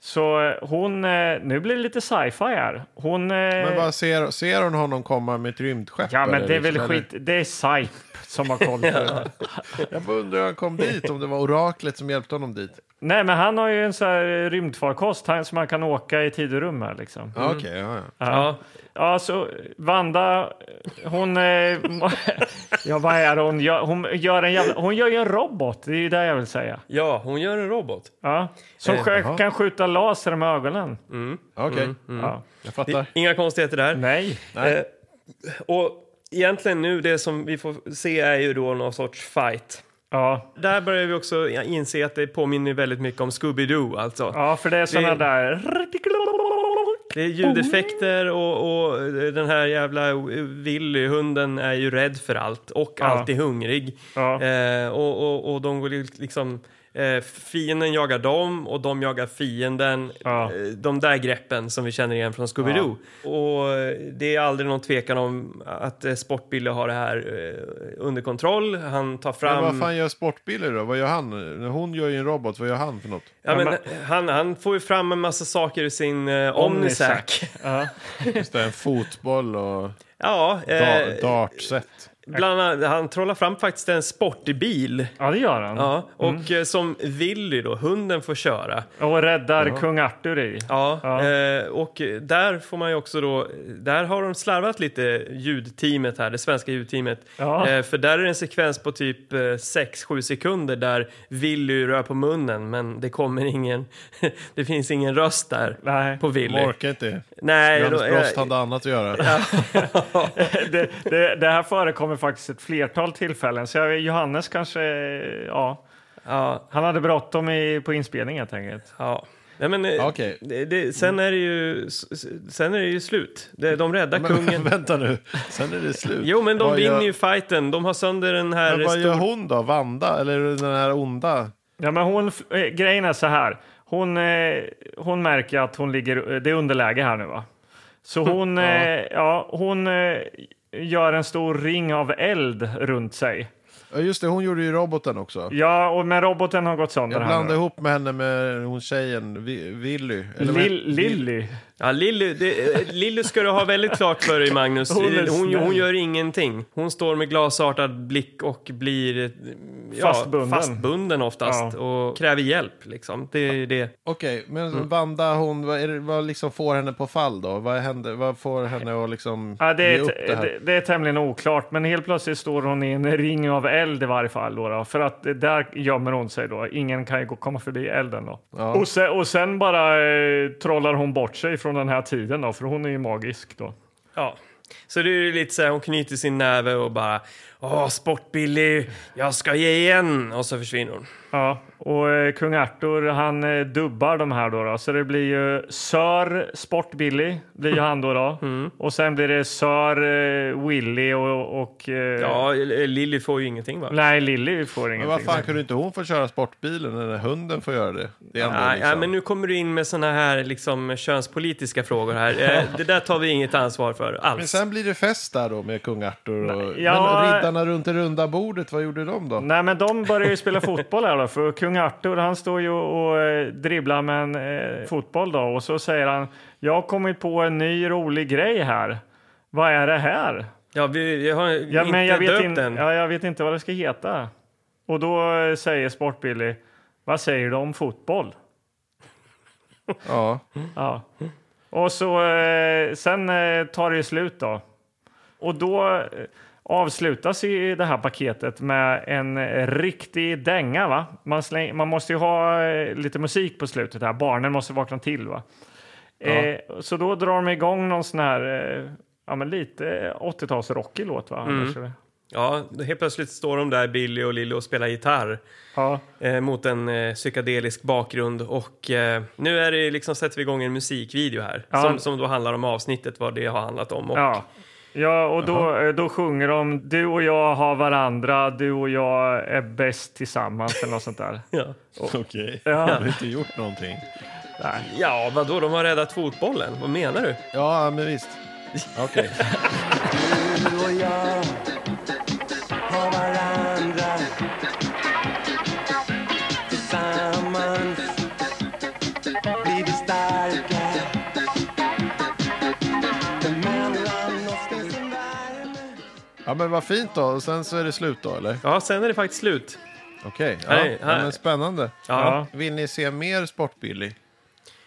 [SPEAKER 1] Så eh, hon, eh, nu blir det lite sci-fi här. Hon... eh,
[SPEAKER 4] Men vad ser, ser hon honom komma med ett rymdskepp?
[SPEAKER 1] Ja, men
[SPEAKER 4] eller
[SPEAKER 1] det är väl
[SPEAKER 4] liksom, eller?
[SPEAKER 1] skit. Det är Sipe som har koll på det.
[SPEAKER 4] Jag bara undrar hur han kom dit, om det var oraklet som hjälpte honom dit.
[SPEAKER 1] Nej, men han har ju en sån här eh, rymdfarkost han- som han kan åka i tid och rum här liksom.
[SPEAKER 4] Ja, Okej, ja, ja.
[SPEAKER 2] Ja.
[SPEAKER 1] Ja, så Vanda, hon... eh, ja, vad är det hon gör? Hon gör, en jävla, hon gör ju en robot, det är ju det jag vill säga.
[SPEAKER 2] ja, hon gör en robot.
[SPEAKER 1] Ja, som
[SPEAKER 2] Eh,
[SPEAKER 1] sjö-
[SPEAKER 4] jaha.
[SPEAKER 1] kan skjuta laser med ögonen.
[SPEAKER 4] Okej,
[SPEAKER 2] Mm.
[SPEAKER 1] Ja.
[SPEAKER 4] jag fattar.
[SPEAKER 2] Inga konstigheter där.
[SPEAKER 1] Nej.
[SPEAKER 2] Eh, och egentligen nu, det som vi får se är ju då någon sorts fight.
[SPEAKER 1] Ja.
[SPEAKER 2] Där börjar vi också inse att det påminner väldigt mycket om Scooby-Doo alltså.
[SPEAKER 1] ja, för det är såna
[SPEAKER 2] Det-
[SPEAKER 1] där...
[SPEAKER 2] Det är ljudeffekter och, och den här jävla Willy, hunden, är ju rädd för allt och
[SPEAKER 1] Ja.
[SPEAKER 2] alltid hungrig.
[SPEAKER 1] Ja.
[SPEAKER 2] Eh, och, och, och de går ju liksom... Eh, fienden jagar dem och de jagar fienden.
[SPEAKER 1] Ja.
[SPEAKER 2] Eh, de där greppen som vi känner igen från Scooby-Doo. Och eh, det är aldrig någon tvekan om att eh, Sportbilly har det här eh, under kontroll. Han tar
[SPEAKER 4] Men
[SPEAKER 2] fram...
[SPEAKER 4] vad fan gör Sportbilly då? Vad gör han? När hon gör ju en robot, vad gör han för något?
[SPEAKER 2] ja, men, han, han får ju fram en massa saker ur sin eh,
[SPEAKER 1] Omnisac.
[SPEAKER 2] Omnisac.
[SPEAKER 1] Ja.
[SPEAKER 4] Just det, en fotboll och
[SPEAKER 2] ja,
[SPEAKER 4] da-
[SPEAKER 2] eh,
[SPEAKER 4] dartset.
[SPEAKER 2] Bland annat, han trollar fram faktiskt en sportbil.
[SPEAKER 1] Ja, det gör han.
[SPEAKER 2] Ja, och eh, som Willy, då, hunden, får köra.
[SPEAKER 1] Och räddar kung Arthur i.
[SPEAKER 2] Ja,
[SPEAKER 1] Ja.
[SPEAKER 2] Eh, och där får man ju också då, där har de slarvat lite ljudteamet här, det svenska ljudteamet.
[SPEAKER 1] Ja.
[SPEAKER 2] Eh, för där är det en sekvens på typ eh, 6-7 sekunder där Willy rör på munnen men det kommer ingen, det finns ingen röst där
[SPEAKER 1] Nej.
[SPEAKER 2] på Willy.
[SPEAKER 4] De orkar inte.
[SPEAKER 2] Nej,
[SPEAKER 4] Johannes
[SPEAKER 2] då-
[SPEAKER 4] Brost
[SPEAKER 2] eh,
[SPEAKER 4] hade annat att göra.
[SPEAKER 1] Det, det, det här förekommer faktiskt ett flertal tillfällen. Så jag, Johannes kanske, ja.
[SPEAKER 2] ja,
[SPEAKER 1] Han hade bråttom i, på inspelningen helt enkelt.
[SPEAKER 2] ja. Nej, men, eh,
[SPEAKER 4] Okej. Mm.
[SPEAKER 2] det, det, sen, är det ju, s- s- sen är det ju slut. Det- De räddar
[SPEAKER 4] Men,
[SPEAKER 2] kungen.
[SPEAKER 4] vänta nu, sen är det slut.
[SPEAKER 2] Jo, men de
[SPEAKER 4] Vad gör-
[SPEAKER 2] vinner ju fighten. De har sönder den här...
[SPEAKER 4] Men vad
[SPEAKER 2] stor-
[SPEAKER 4] gör hon då? Vanda? Eller den här onda?
[SPEAKER 1] Ja, men hon, eh, grejen är så här. Hon, eh, hon märker att hon ligger, eh, det är underläge här nu va? Så hon, eh, ja, hon eh, gör en stor ring av eld runt sig.
[SPEAKER 4] Ja, just det, hon gjorde ju roboten också.
[SPEAKER 1] Ja, och men roboten har gått sönder
[SPEAKER 4] Jag
[SPEAKER 1] här
[SPEAKER 4] blandade
[SPEAKER 1] nu.
[SPEAKER 4] ihop med henne med hon tjejen, Vi- Willy. Eller vad
[SPEAKER 1] Lill- Lilly.
[SPEAKER 2] Ja, Lilly, det, eh, Lilly ska du ha väldigt klart för dig, Magnus.
[SPEAKER 1] Hon är
[SPEAKER 2] Hon, hon,
[SPEAKER 1] snäll.
[SPEAKER 2] gör ingenting. Hon står med glasartad blick och blir eh, ja,
[SPEAKER 1] Fastbunden.
[SPEAKER 2] fastbunden oftast
[SPEAKER 1] Ja.
[SPEAKER 2] och kräver hjälp. Liksom. Det är det.
[SPEAKER 4] Okej, men
[SPEAKER 1] Mm.
[SPEAKER 4] Vanda, hon, vad, är det, vad liksom får henne på fall då? Vad, händer, vad får henne att liksom
[SPEAKER 1] Ja, det,
[SPEAKER 4] ge
[SPEAKER 1] är,
[SPEAKER 4] upp
[SPEAKER 1] t-
[SPEAKER 4] det här?
[SPEAKER 1] det, det är tämligen oklart, men helt plötsligt står hon i en ring av eld i varje fall. Då, då, för att det- där gömmer hon sig då. Ingen kan ju gå- komma förbi elden då. Och, sen, och sen bara eh, trollar hon bort sig från den här tiden då, för hon är ju magisk då.
[SPEAKER 2] Ja. Så det är ju lite så här, hon knyter sin näve och bara Åh, sportbillig, jag ska ge igen! Och så försvinner hon.
[SPEAKER 1] Ja, och eh, kung Arthur han eh, dubbar de här då, då. Så det blir ju Sir Sport-Billy blir ju han då. då.
[SPEAKER 4] Mm.
[SPEAKER 1] Och sen blir det Sir eh, Willy och... och eh,
[SPEAKER 2] Ja, eh, Lilly får ju ingenting va?
[SPEAKER 1] Nej, Lilly får
[SPEAKER 4] Men
[SPEAKER 1] ingenting.
[SPEAKER 4] vad fan, kunde inte hon få köra sportbilen när hunden får göra det? det är ändå
[SPEAKER 2] Nej,
[SPEAKER 4] liksom...
[SPEAKER 2] ja, men nu kommer du in med såna här liksom, könspolitiska frågor här. Eh, Det där tar vi inget ansvar för
[SPEAKER 4] Men
[SPEAKER 2] alls.
[SPEAKER 4] sen blir det fest där då med kung Arthur och...
[SPEAKER 1] ja.
[SPEAKER 4] Men riddarna runt det runda bordet, vad gjorde de då?
[SPEAKER 1] Nej, men de börjar ju spela fotboll här då, för kung Arthur han står ju och eh, dribblar med en eh, fotboll då och så säger han jag har kommit på en ny rolig grej här. Vad är det här?
[SPEAKER 2] Ja, vi, jag har
[SPEAKER 1] Ja,
[SPEAKER 2] inte
[SPEAKER 1] men jag vet,
[SPEAKER 2] döpt
[SPEAKER 1] in,
[SPEAKER 2] den.
[SPEAKER 1] ja, jag vet inte vad det ska heta. Och då eh, säger Sportbilly, vad säger du om fotboll?
[SPEAKER 4] Ja.
[SPEAKER 1] Ja. Och så eh, sen eh, tar det ju slut då. Och då eh, avslutas ju det här paketet med en eh, riktig dänga va? Man, släng, man måste ju ha eh, lite musik på slutet här, barnen måste vakna till va? Eh, så då drar de igång någon sån här, eh, ja men lite 80-talsrockig låt va? Anders, eller?
[SPEAKER 2] Ja, då helt plötsligt står de där, Billy och Lilly, och spelar gitarr
[SPEAKER 1] Ja.
[SPEAKER 2] eh, mot en eh, psykedelisk bakgrund. Och eh, nu är det liksom, sätter vi igång en musikvideo här
[SPEAKER 1] Ja.
[SPEAKER 2] som, som då handlar om avsnittet, vad det har handlat om. Och,
[SPEAKER 1] Ja. Ja, och då, eh, då sjunger de Du och jag har varandra, du och jag är bäst tillsammans eller något sånt där.
[SPEAKER 2] ja.
[SPEAKER 4] Okej,
[SPEAKER 1] Ja.
[SPEAKER 4] de har inte gjort någonting.
[SPEAKER 2] ja, vadå, de har räddat fotbollen? Vad menar du?
[SPEAKER 4] Ja, men visst. Okej. Ja, men vad fint då. Och sen så är det slut då, eller?
[SPEAKER 2] Ja, sen är det faktiskt slut.
[SPEAKER 4] Okej,
[SPEAKER 2] Nej,
[SPEAKER 4] ja.
[SPEAKER 2] här-
[SPEAKER 4] ja, men spännande.
[SPEAKER 2] Ja,
[SPEAKER 4] Vill ni se mer Sportbilly?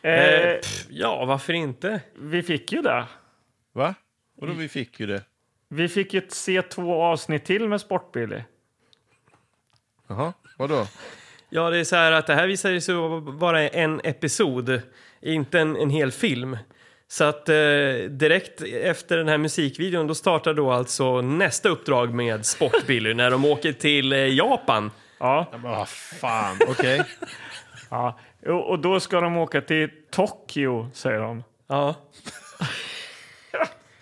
[SPEAKER 1] Ja.
[SPEAKER 2] ja.
[SPEAKER 1] Eh,
[SPEAKER 2] Eh, pff, ja varför inte?
[SPEAKER 1] vi fick ju det.
[SPEAKER 4] Va? Och då vi fick ju det.
[SPEAKER 1] Vi fick ju se två avsnitt till med Sportbilly.
[SPEAKER 4] Jaha, vadå?
[SPEAKER 2] Ja, det är så här att det här visar ju sig vara en episod, inte en, en hel film. Så att eh, direkt efter den här musikvideon då startar då alltså nästa uppdrag med Sportbilly när de åker till eh, Japan.
[SPEAKER 1] Ja.
[SPEAKER 4] Vad fan, okej.
[SPEAKER 1] ja. Och och då ska de åka till Tokyo, säger de.
[SPEAKER 2] Ja.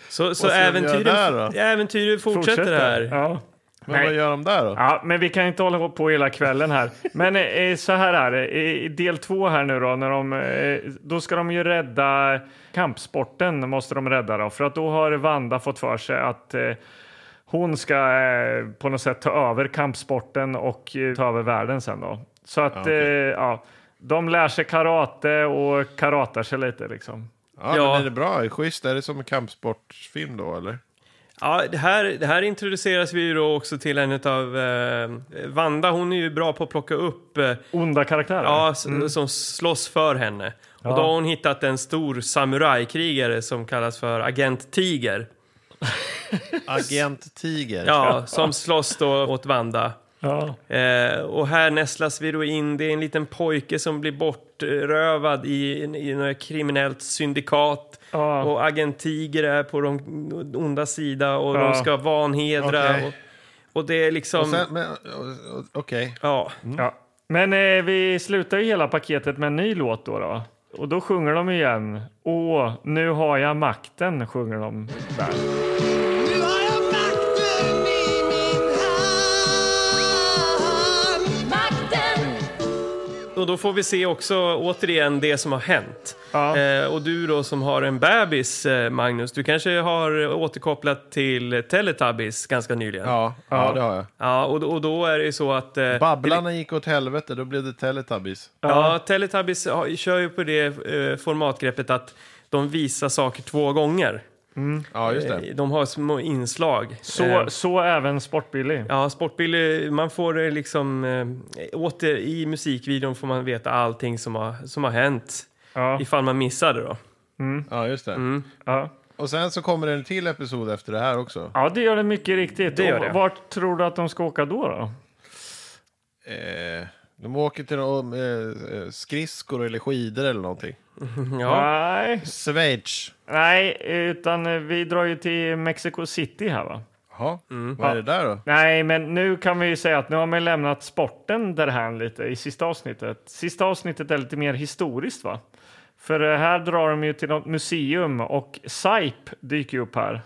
[SPEAKER 2] Så, så
[SPEAKER 4] Vad ska de göra där
[SPEAKER 2] äventyren,
[SPEAKER 4] då?
[SPEAKER 2] äventyren fortsätter, här.
[SPEAKER 1] Ja.
[SPEAKER 4] Men vad gör de där då?
[SPEAKER 1] Ja, men vi kan inte hålla på hela kvällen här. Men eh, så här är det, I- i del två här nu då, när de, eh, då ska de ju rädda kampsporten, måste de rädda då, för att då har Vanda fått för sig att eh, hon ska eh, på något sätt ta över kampsporten och eh, ta över världen sen då. Så att, eh, ja, de lär sig karate och karatar sig lite liksom.
[SPEAKER 4] Ja,
[SPEAKER 2] Ja.
[SPEAKER 4] Men är det bra? Är det schysst? Är det som en kampsportfilm då, eller?
[SPEAKER 2] Ja, det här, det här introduceras vi ju då också till en av eh, Vanda, hon är ju bra på att plocka upp eh,
[SPEAKER 1] Onda karaktärer?
[SPEAKER 2] Ja, s- som slåss för henne. Och då har hon hittat en stor samurajkrigare som kallas för Agent Tiger.
[SPEAKER 4] Agent Tiger.
[SPEAKER 2] Ja, som slåss då åt Vanda.
[SPEAKER 1] Ja.
[SPEAKER 2] Eh, och här nästlas vi då in, det är en liten pojke som blir bortrövad i, i något kriminellt syndikat.
[SPEAKER 1] Ja.
[SPEAKER 2] Och Agent Tiger är på de onda sida och
[SPEAKER 1] Ja.
[SPEAKER 2] de ska vanhedra.
[SPEAKER 4] Okej.
[SPEAKER 2] Och, och det är liksom...
[SPEAKER 4] Och sen- men, och- och- Okej.
[SPEAKER 2] ja.
[SPEAKER 1] Ja. Men eh, vi slutar ju hela paketet med en ny låt då. då. Och då sjunger de igen. Åh, nu har jag makten, sjunger de där.
[SPEAKER 10] Nu har jag makten i min hand. Makten!
[SPEAKER 2] Och då får vi se också återigen det som har hänt.
[SPEAKER 1] Ja.
[SPEAKER 2] Eh, och du då som har en bebis, eh, Magnus, du kanske har återkopplat till Teletubbies ganska nyligen?
[SPEAKER 4] Ja, ja, det har jag.
[SPEAKER 2] Ja, och, då- och då är det ju så att... Eh,
[SPEAKER 4] Babblarna gick åt helvete, då blev det Teletubbies.
[SPEAKER 2] Ja, Teletubbies har, kör ju på det eh, formatgreppet att de visar saker två gånger.
[SPEAKER 4] Ja, just det.
[SPEAKER 2] Eh, De har små inslag.
[SPEAKER 1] Så,
[SPEAKER 2] Eh,
[SPEAKER 1] så även Sportbilly.
[SPEAKER 2] Ja, Sportbilly, man får det liksom... Eh, åter, I musikvideon får man veta allting som har, som har hänt.
[SPEAKER 1] Ja.
[SPEAKER 2] Ifall man missade då.
[SPEAKER 4] Ja, just det.
[SPEAKER 2] Mm.
[SPEAKER 1] Ja.
[SPEAKER 4] Och sen så kommer det en till episod efter det här också.
[SPEAKER 1] ja, det gör det mycket riktigt.
[SPEAKER 2] Det gör
[SPEAKER 1] Och
[SPEAKER 2] det.
[SPEAKER 1] Vart tror du att de ska åka då? då?
[SPEAKER 4] Eh, de åker till någon, eh, skridskor eller skidor eller någonting.
[SPEAKER 2] Ja.
[SPEAKER 1] Nej.
[SPEAKER 4] Schweiz.
[SPEAKER 1] Nej, utan eh, vi drar ju till Mexico City här va?
[SPEAKER 4] Jaha,
[SPEAKER 2] Mm.
[SPEAKER 4] vad är det där då?
[SPEAKER 1] Nej, men nu kan vi ju säga att nu har man lämnat sporten därhän lite i sista avsnittet. Sista avsnittet är lite mer historiskt va? För eh, här drar de ju till något museum och Saip dyker ju upp här.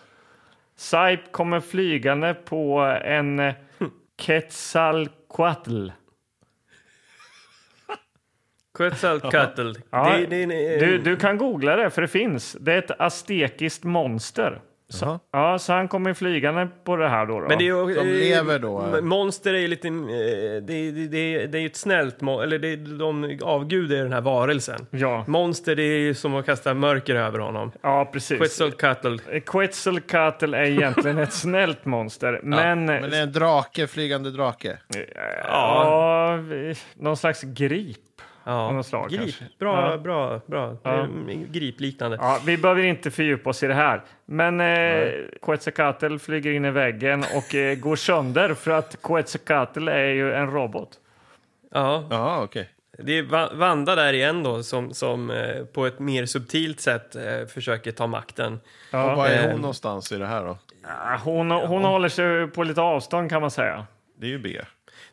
[SPEAKER 1] Saip kommer flygande på en eh, Quetzalcoatl.
[SPEAKER 2] Quetzalcoatl.
[SPEAKER 1] Ja,
[SPEAKER 2] Det- eh, det- det-
[SPEAKER 1] du, du kan googla det, för det finns. Det är ett aztekiskt monster.
[SPEAKER 4] Jaha.
[SPEAKER 1] Så, ja, så han kommer flygande på det här då. då.
[SPEAKER 2] Men det är ju,
[SPEAKER 4] Som
[SPEAKER 2] eh,
[SPEAKER 4] lever då, eh.
[SPEAKER 2] Monster är ju lite... eh, Det, det, det, det är ju ett snällt... mo- Eller det, de avgudar ju den här varelsen.
[SPEAKER 1] Ja.
[SPEAKER 2] Monster det är ju som att kasta mörker över honom.
[SPEAKER 1] ja, precis.
[SPEAKER 2] Quetzalcoatl.
[SPEAKER 1] Quetzalcoatl är egentligen ett snällt monster, men... eh,
[SPEAKER 4] Men det är en drake, flygande drake.
[SPEAKER 1] ja, vi- någon slags grip. Av
[SPEAKER 2] Ja.
[SPEAKER 1] något slag,
[SPEAKER 2] Grip.
[SPEAKER 1] kanske.
[SPEAKER 2] Bra,
[SPEAKER 1] Ja.
[SPEAKER 2] bra, bra. Det är Gripliknande.
[SPEAKER 1] Ja, vi behöver inte fördjupa oss i det här. Men eh, Quetzalcoatl flyger in i väggen och eh, går sönder för att Quetzalcoatl är ju en robot.
[SPEAKER 2] Ja.
[SPEAKER 4] Jaha, okej.
[SPEAKER 2] Det är Va- Vanda där igen då som, som eh, på ett mer subtilt sätt eh, försöker ta makten.
[SPEAKER 4] Och var är hon någonstans i det här då?
[SPEAKER 1] Ah, Hon, hon håller sig på lite avstånd kan man säga.
[SPEAKER 4] Det är ju B.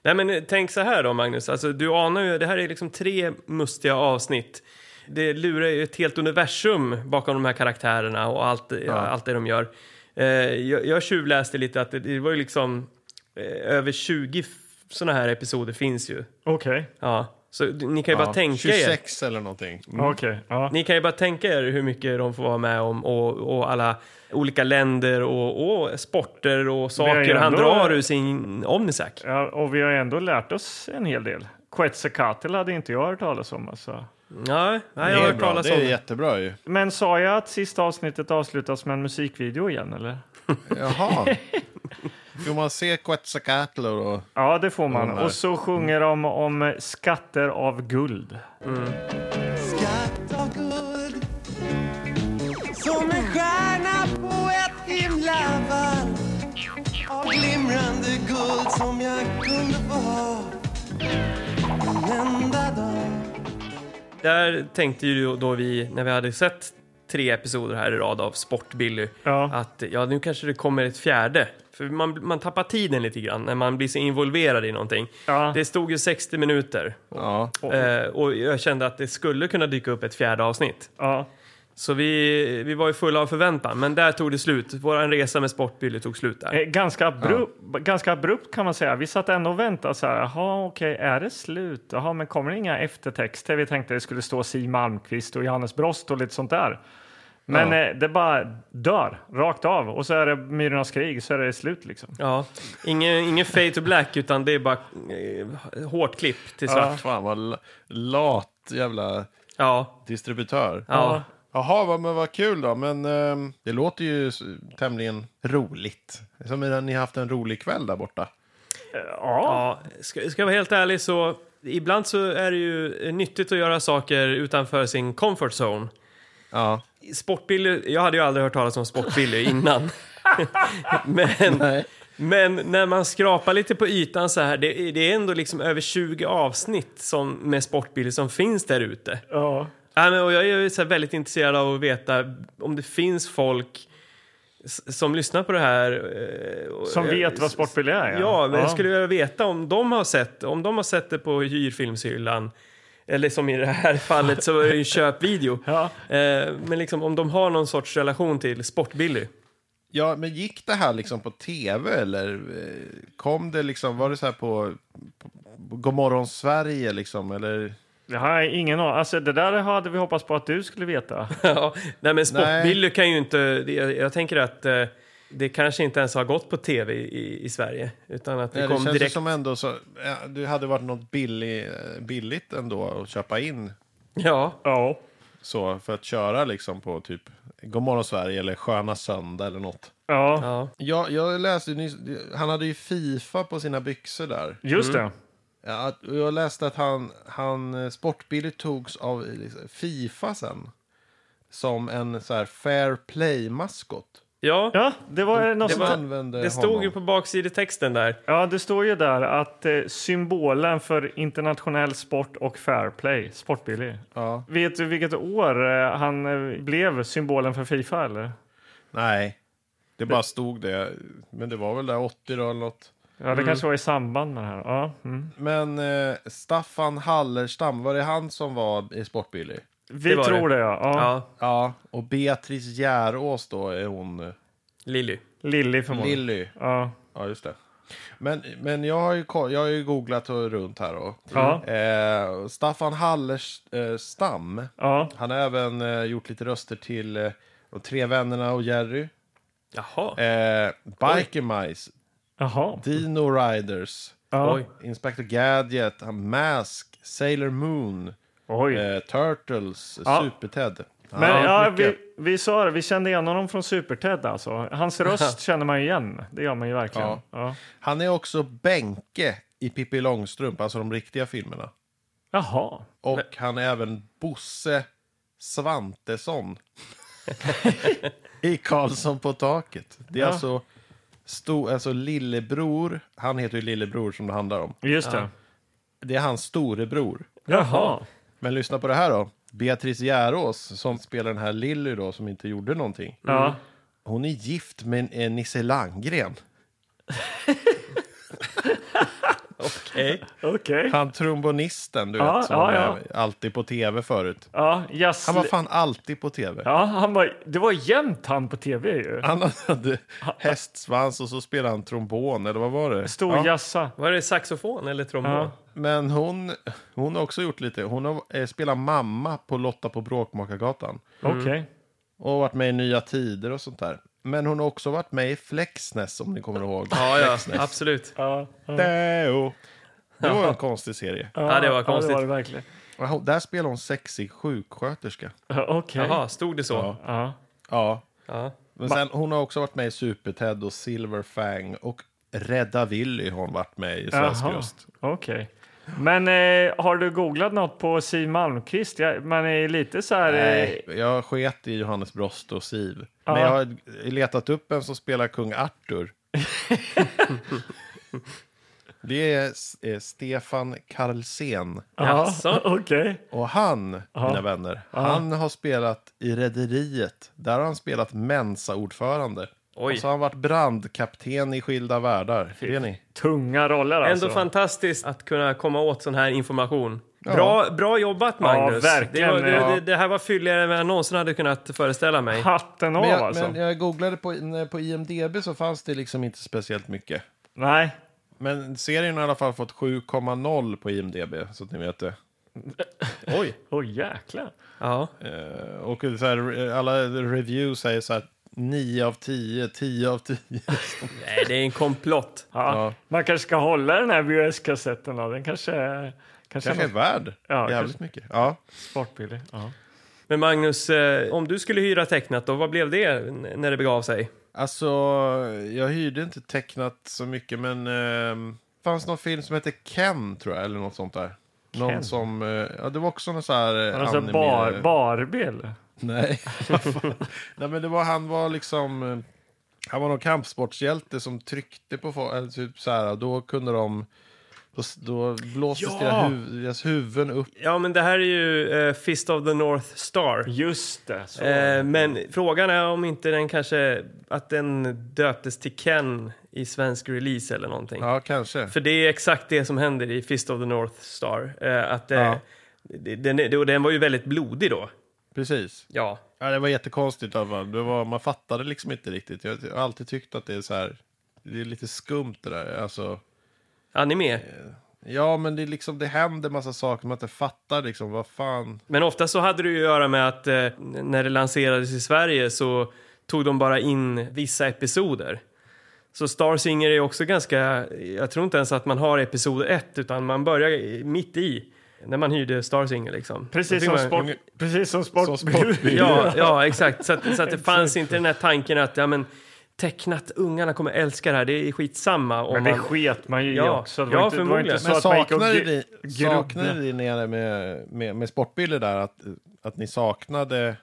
[SPEAKER 2] Nej, men eh, tänk så här då, Magnus. Alltså, du anar ju, det här är liksom tre mustiga avsnitt. Det lurar ju ett helt universum bakom de här karaktärerna och allt, allt det de gör. Eh, jag, jag tjuvläste lite att det, det var ju liksom eh, över 20 sådana här episoder finns ju.
[SPEAKER 1] Okej.
[SPEAKER 2] Ja, så d- ni kan ju bara tänka er.
[SPEAKER 4] 26 eller någonting.
[SPEAKER 1] Okej, ja.
[SPEAKER 2] Ni kan ju bara tänka er hur mycket de får vara med om och, och alla olika länder och, och sporter och saker han
[SPEAKER 1] ändå-
[SPEAKER 2] drar ur sin omnisack.
[SPEAKER 1] ja. Och vi har ändå lärt oss en hel del. Quetzalcoatl hade inte jag hört talas om. Alltså.
[SPEAKER 2] Nej, nej,
[SPEAKER 4] Det
[SPEAKER 2] jag har
[SPEAKER 4] är,
[SPEAKER 2] hört
[SPEAKER 4] bra.
[SPEAKER 2] talas
[SPEAKER 4] det
[SPEAKER 2] om
[SPEAKER 4] är
[SPEAKER 2] det.
[SPEAKER 4] jättebra ju.
[SPEAKER 1] Men sa jag att sista avsnittet avslutas med en musikvideo igen eller?
[SPEAKER 4] Jaha. Får man se Quetzalcoatl och...
[SPEAKER 1] Ja, det får man.
[SPEAKER 4] Ja, nej.
[SPEAKER 1] Och så sjunger de om eh, skatter av guld.
[SPEAKER 10] Skatt av guld Som en stjärna på ett himlavalv Av glimrande guld som jag kunde få ha en enda dag
[SPEAKER 2] Där tänkte ju då vi, när vi hade sett tre episoder här i rad av Sportbilly,
[SPEAKER 1] Ja.
[SPEAKER 2] att ja, nu kanske det kommer ett fjärde. För man, man tappar tiden lite grann när man blir så involverad i någonting.
[SPEAKER 1] Ja.
[SPEAKER 2] Det stod ju 60 minuter
[SPEAKER 4] Ja.
[SPEAKER 2] eh, och jag kände att det skulle kunna dyka upp ett fjärde avsnitt.
[SPEAKER 1] Ja.
[SPEAKER 2] Så vi, vi var ju fulla av förväntan, men där tog det slut. Vår resa med Sportbilly tog slut där.
[SPEAKER 1] Eh, Ganska, abrupt, ganska abrupt kan man säga. Vi satt ändå och väntade så här. Jaha, okej, är det slut? Jaha, men kommer det inga eftertexter? Vi tänkte det skulle stå Siw Malmkvist och Johannes Brost och lite sånt där. Men eh, det bara dör rakt av och så är det Myrornas krig så är det slut liksom.
[SPEAKER 2] Ja, ingen, ingen fade to black utan det är bara eh, hårt klipp till svart.
[SPEAKER 4] Fan vad la- lat jävla
[SPEAKER 2] Ja,
[SPEAKER 4] distributör.
[SPEAKER 2] ja.
[SPEAKER 4] Ja. Jaha, vad- men vad kul då. Men ehm, det låter ju s- tämligen roligt. Som att ni har haft en rolig kväll där borta.
[SPEAKER 11] Ja.
[SPEAKER 2] ska, ska jag vara helt ärlig så ibland så är det ju eh, nyttigt att göra saker utanför sin comfort zone.
[SPEAKER 4] Ja.
[SPEAKER 2] Sportbilly, jag hade ju aldrig hört talas om sportbilly innan. men, men när man skrapar lite på ytan så här, det, det är ändå liksom över 20 avsnitt som, med sportbilly som finns där ute.
[SPEAKER 1] Ja.
[SPEAKER 2] Ja, men, och jag är ju så här väldigt intresserad av att veta om det finns folk s- som lyssnar på det här. eh, och-
[SPEAKER 1] Som vet vad sportbil är,
[SPEAKER 2] Ja,
[SPEAKER 1] ja.
[SPEAKER 2] men jag
[SPEAKER 1] Ja.
[SPEAKER 2] skulle vilja veta om de har sett, om de har sett det på hyrfilmshyllan. Eller som i det här fallet så var det ju en köpvideo. Eh, Men liksom om de har någon sorts relation till Sportbilly.
[SPEAKER 4] Ja, men gick det här liksom på tv eller eh, kom det liksom, var det så här på, på, på Godmorgon Sverige liksom eller?
[SPEAKER 1] Det har jag ingen aning alltså, Det där hade vi hoppats på att du skulle veta.
[SPEAKER 2] Ja, nej men Sportbilly kan ju inte, det- jag, jag tänker att eh, det kanske inte ens har gått på tv i, i Sverige. Utan att det
[SPEAKER 4] Nej, det
[SPEAKER 2] kom
[SPEAKER 4] känns ju
[SPEAKER 2] direkt.
[SPEAKER 4] som ändå så, ja, det hade varit något billig, eh, billigt ändå att köpa in.
[SPEAKER 2] Ja.
[SPEAKER 1] ja.
[SPEAKER 4] Så för att köra liksom på typ Godmorgon Sverige eller Sköna Söndag eller något.
[SPEAKER 1] Ja.
[SPEAKER 4] Jag, jag läste ju nyss, han hade ju Fifa på sina byxor där.
[SPEAKER 1] Just det.
[SPEAKER 4] Ja, att- och jag läste att han, han eh, Sportbilly togs av eh, liksom, Fifa sen. Som en så här fair play-maskot.
[SPEAKER 2] Ja.
[SPEAKER 1] det var något
[SPEAKER 4] Det
[SPEAKER 1] sånt-
[SPEAKER 4] var- använde
[SPEAKER 2] det stod
[SPEAKER 4] honom.
[SPEAKER 2] ju på baksidetexten där.
[SPEAKER 1] Ja, det står ju där att eh, symbolen för internationell sport och fair play, sportbilly. Vet du vilket år eh, han eh, blev symbolen för Fifa eller?
[SPEAKER 4] Nej, det bara stod det. Men det var väl där 80 då eller något.
[SPEAKER 1] Ja, det kanske var i samband med det här. Ja, mm.
[SPEAKER 4] Men eh, Staffan Hallerstam, var det han som var i Sportbilly?
[SPEAKER 1] Vi Det var tror det. det, ja. Ja.
[SPEAKER 2] Ja.
[SPEAKER 4] Och Beatrice Järås då är hon...
[SPEAKER 2] Lilly.
[SPEAKER 1] Lilly förmodligen.
[SPEAKER 4] Lilly.
[SPEAKER 1] Ja.
[SPEAKER 4] ja, just det. Men, men jag, har ju, ko- jag har ju googlat och runt här. Och,
[SPEAKER 1] Ja.
[SPEAKER 4] eh, Staffan Hallerstam, han har även eh, gjort lite röster till eh, De tre vännerna och Jerry.
[SPEAKER 2] Jaha.
[SPEAKER 4] Eh, Biker Mice,
[SPEAKER 1] Jaha.
[SPEAKER 4] Dino Riders,
[SPEAKER 1] Ja. Oj.
[SPEAKER 4] Inspector Gadget, Mask, Sailor Moon, Eh, Turtles,
[SPEAKER 1] Ja.
[SPEAKER 4] Super-Ted. Han
[SPEAKER 1] Men
[SPEAKER 4] har
[SPEAKER 1] ja,
[SPEAKER 4] gjort mycket.
[SPEAKER 1] vi, vi sa det, vi kände igen honom från Super-Ted alltså. Hans röst känner man ju igen. Det gör man ju verkligen.
[SPEAKER 4] Ja.
[SPEAKER 1] Ja.
[SPEAKER 4] Han är också Benke i Pippi Långstrump, alltså de riktiga filmerna.
[SPEAKER 1] Jaha.
[SPEAKER 4] Och han är även Bosse Svantesson i Karlsson på taket. Det är
[SPEAKER 1] Ja.
[SPEAKER 4] alltså, sto, alltså lillebror, han heter ju lillebror som det handlar om.
[SPEAKER 1] Just det.
[SPEAKER 4] Det är hans storebror.
[SPEAKER 1] Jaha.
[SPEAKER 4] Men lyssna på det här då. Beatrice Järås som spelar den här Lilly då som inte gjorde någonting.
[SPEAKER 1] Ja.
[SPEAKER 4] Hon är gift med en Nisse Landgren.
[SPEAKER 2] Okej.
[SPEAKER 1] Okej.
[SPEAKER 4] Han trombonisten du
[SPEAKER 1] Ja,
[SPEAKER 4] vet som
[SPEAKER 1] ja,
[SPEAKER 4] var
[SPEAKER 1] ja.
[SPEAKER 4] alltid på tv förut.
[SPEAKER 1] Ja, Jasli-
[SPEAKER 4] Han var fan alltid på tv.
[SPEAKER 1] Ja, han var, det var jämnt han på tv ju.
[SPEAKER 4] Han hade hästsvans och så spelade han trombon eller vad var det?
[SPEAKER 1] Stor jassa.
[SPEAKER 2] Var det saxofon eller trombon?
[SPEAKER 4] Ja. Men hon, hon har också gjort lite. Hon har eh, spelat mamma på Lotta på Bråkmakargatan.
[SPEAKER 1] Okej.
[SPEAKER 4] Och varit med i Nya Tider och sånt där. Men hon har också varit med i Flexnäs om ni kommer ihåg.
[SPEAKER 2] Ja, ja,
[SPEAKER 4] Flexnäs.
[SPEAKER 2] absolut.
[SPEAKER 1] Ja,
[SPEAKER 4] Deo. Det var en konstig serie.
[SPEAKER 2] Ja, det var konstigt.
[SPEAKER 1] Ja, det var det verkligen.
[SPEAKER 4] Och hon- Där spelar hon sexig sjuksköterska.
[SPEAKER 1] Ja, Okej.
[SPEAKER 2] Jaha, stod det så?
[SPEAKER 1] Ja.
[SPEAKER 4] Ja.
[SPEAKER 2] Ja.
[SPEAKER 4] Men sen, hon har också varit med i Super-Ted och Silver Fang och Rädda Willy har hon varit med i Svensk
[SPEAKER 1] Jaha,
[SPEAKER 4] röst.
[SPEAKER 1] Okej. Men eh, har du googlat något på Siw Malmkvist? Jag, man är lite så här... eh,
[SPEAKER 4] Nej, jag sket i Johannes Brost och Siv.
[SPEAKER 1] Ja.
[SPEAKER 4] Men jag har letat upp en som spelar kung Arthur. det är S- eh, Stefan Karlsén.
[SPEAKER 1] Ja, okej.
[SPEAKER 4] Och han, mina vänner, han har spelat i Rederiet. Där har han spelat Mensa-ordförande.
[SPEAKER 2] Oj.
[SPEAKER 4] Och så har han varit brandkapten i Skilda Världar. Det ni.
[SPEAKER 1] Tunga roller
[SPEAKER 2] Ändå
[SPEAKER 1] alltså.
[SPEAKER 2] fantastiskt att kunna komma åt sån här information.
[SPEAKER 4] Ja.
[SPEAKER 2] Bra, bra jobbat, Magnus.
[SPEAKER 1] Ja, verkligen.
[SPEAKER 2] Det, var, det,
[SPEAKER 1] Ja.
[SPEAKER 2] det, det här var fylligare än vad jag någonsin hade kunnat föreställa mig.
[SPEAKER 1] Hatten av
[SPEAKER 4] Men jag,
[SPEAKER 1] alltså.
[SPEAKER 4] men jag googlade på, på IMDB så fanns det liksom inte speciellt mycket.
[SPEAKER 1] Nej.
[SPEAKER 4] Men serien har i alla fall fått 7,0 på IMDB, så att ni vet det.
[SPEAKER 2] Oj!
[SPEAKER 1] Åh jäklar.
[SPEAKER 2] Ja.
[SPEAKER 4] Eh, Och så här, alla reviews säger så här 9 av 10, 10 av 10.
[SPEAKER 2] Nej, det är en komplott.
[SPEAKER 1] Ja.
[SPEAKER 4] Ja.
[SPEAKER 1] Man kanske ska hålla den här VHS-kassetten då. Den kanske är... Kanske
[SPEAKER 4] Kanske är
[SPEAKER 1] är något
[SPEAKER 4] värd
[SPEAKER 1] Ja,
[SPEAKER 4] jävligt
[SPEAKER 1] kanske.
[SPEAKER 4] mycket. Ja.
[SPEAKER 1] sportbillig. Ja.
[SPEAKER 2] Men Magnus, eh, om du skulle hyra tecknat då, vad blev det n- när det begav sig?
[SPEAKER 4] Alltså, jag hyrde inte tecknat så mycket, men eh, fanns någon film som hette Ken, tror jag, eller något sånt där. Någon
[SPEAKER 1] Ken?
[SPEAKER 4] som, eh, ja det var också någon så här eh,
[SPEAKER 1] Var det så
[SPEAKER 4] anime-
[SPEAKER 1] bar, Barbie eller?
[SPEAKER 4] Nej. Nej, men det var, han var liksom... eh, Han var någon kampsportshjälte som tryckte på folk. Eller typ så här, och då kunde de... Då, då blåstes
[SPEAKER 2] Ja!
[SPEAKER 4] deras, huv, deras huvuden upp.
[SPEAKER 2] Ja, men det här är ju eh, Fist of the North Star.
[SPEAKER 1] Just det. så är
[SPEAKER 2] Eh, men frågan är om inte den kanske, att den döptes till Ken i svensk release eller någonting.
[SPEAKER 4] Ja, kanske.
[SPEAKER 2] För det är exakt det som händer i Fist of the North Star. Eh, att, eh,
[SPEAKER 4] Ja.
[SPEAKER 2] det- den, är- och den var ju väldigt blodig då.
[SPEAKER 4] Precis.
[SPEAKER 2] Ja.
[SPEAKER 4] Ja, det var jättekonstigt. i alla fall. Det var, man fattade liksom inte riktigt. Jag har alltid tyckt att det är så här... Det är lite skumt det där. Alltså,
[SPEAKER 2] Anime.
[SPEAKER 4] ja, men det, är liksom, det händer massa saker man inte fattar. Liksom, vad fan...
[SPEAKER 2] Men ofta så hade det ju att göra med att eh, när det lanserades i Sverige så tog de bara in vissa episoder. Så Star Singer är också ganska, jag tror inte ens att man har episod ett utan man börjar i- mitt i när man hyrde Star Singer liksom.
[SPEAKER 1] Precis
[SPEAKER 2] Då
[SPEAKER 1] som,
[SPEAKER 2] fick
[SPEAKER 1] sport,
[SPEAKER 2] man,
[SPEAKER 1] precis som sportbil.
[SPEAKER 2] Ja, ja exakt. Så, att, så att det fanns inte den här tanken att ja, men, tecknat, ungarna kommer älska det här, det är skitsamma. Om
[SPEAKER 1] Men det
[SPEAKER 2] man,
[SPEAKER 1] sket man ju i
[SPEAKER 2] Ja,
[SPEAKER 1] också. Det
[SPEAKER 2] ja,
[SPEAKER 1] var inte, det var inte
[SPEAKER 2] förmodligen.
[SPEAKER 1] så
[SPEAKER 4] Men
[SPEAKER 1] att man gick och
[SPEAKER 4] saknade
[SPEAKER 1] gr-
[SPEAKER 4] ni, saknade
[SPEAKER 1] grodde.
[SPEAKER 4] ni nere med, med, med sportbilder där att, att ni saknade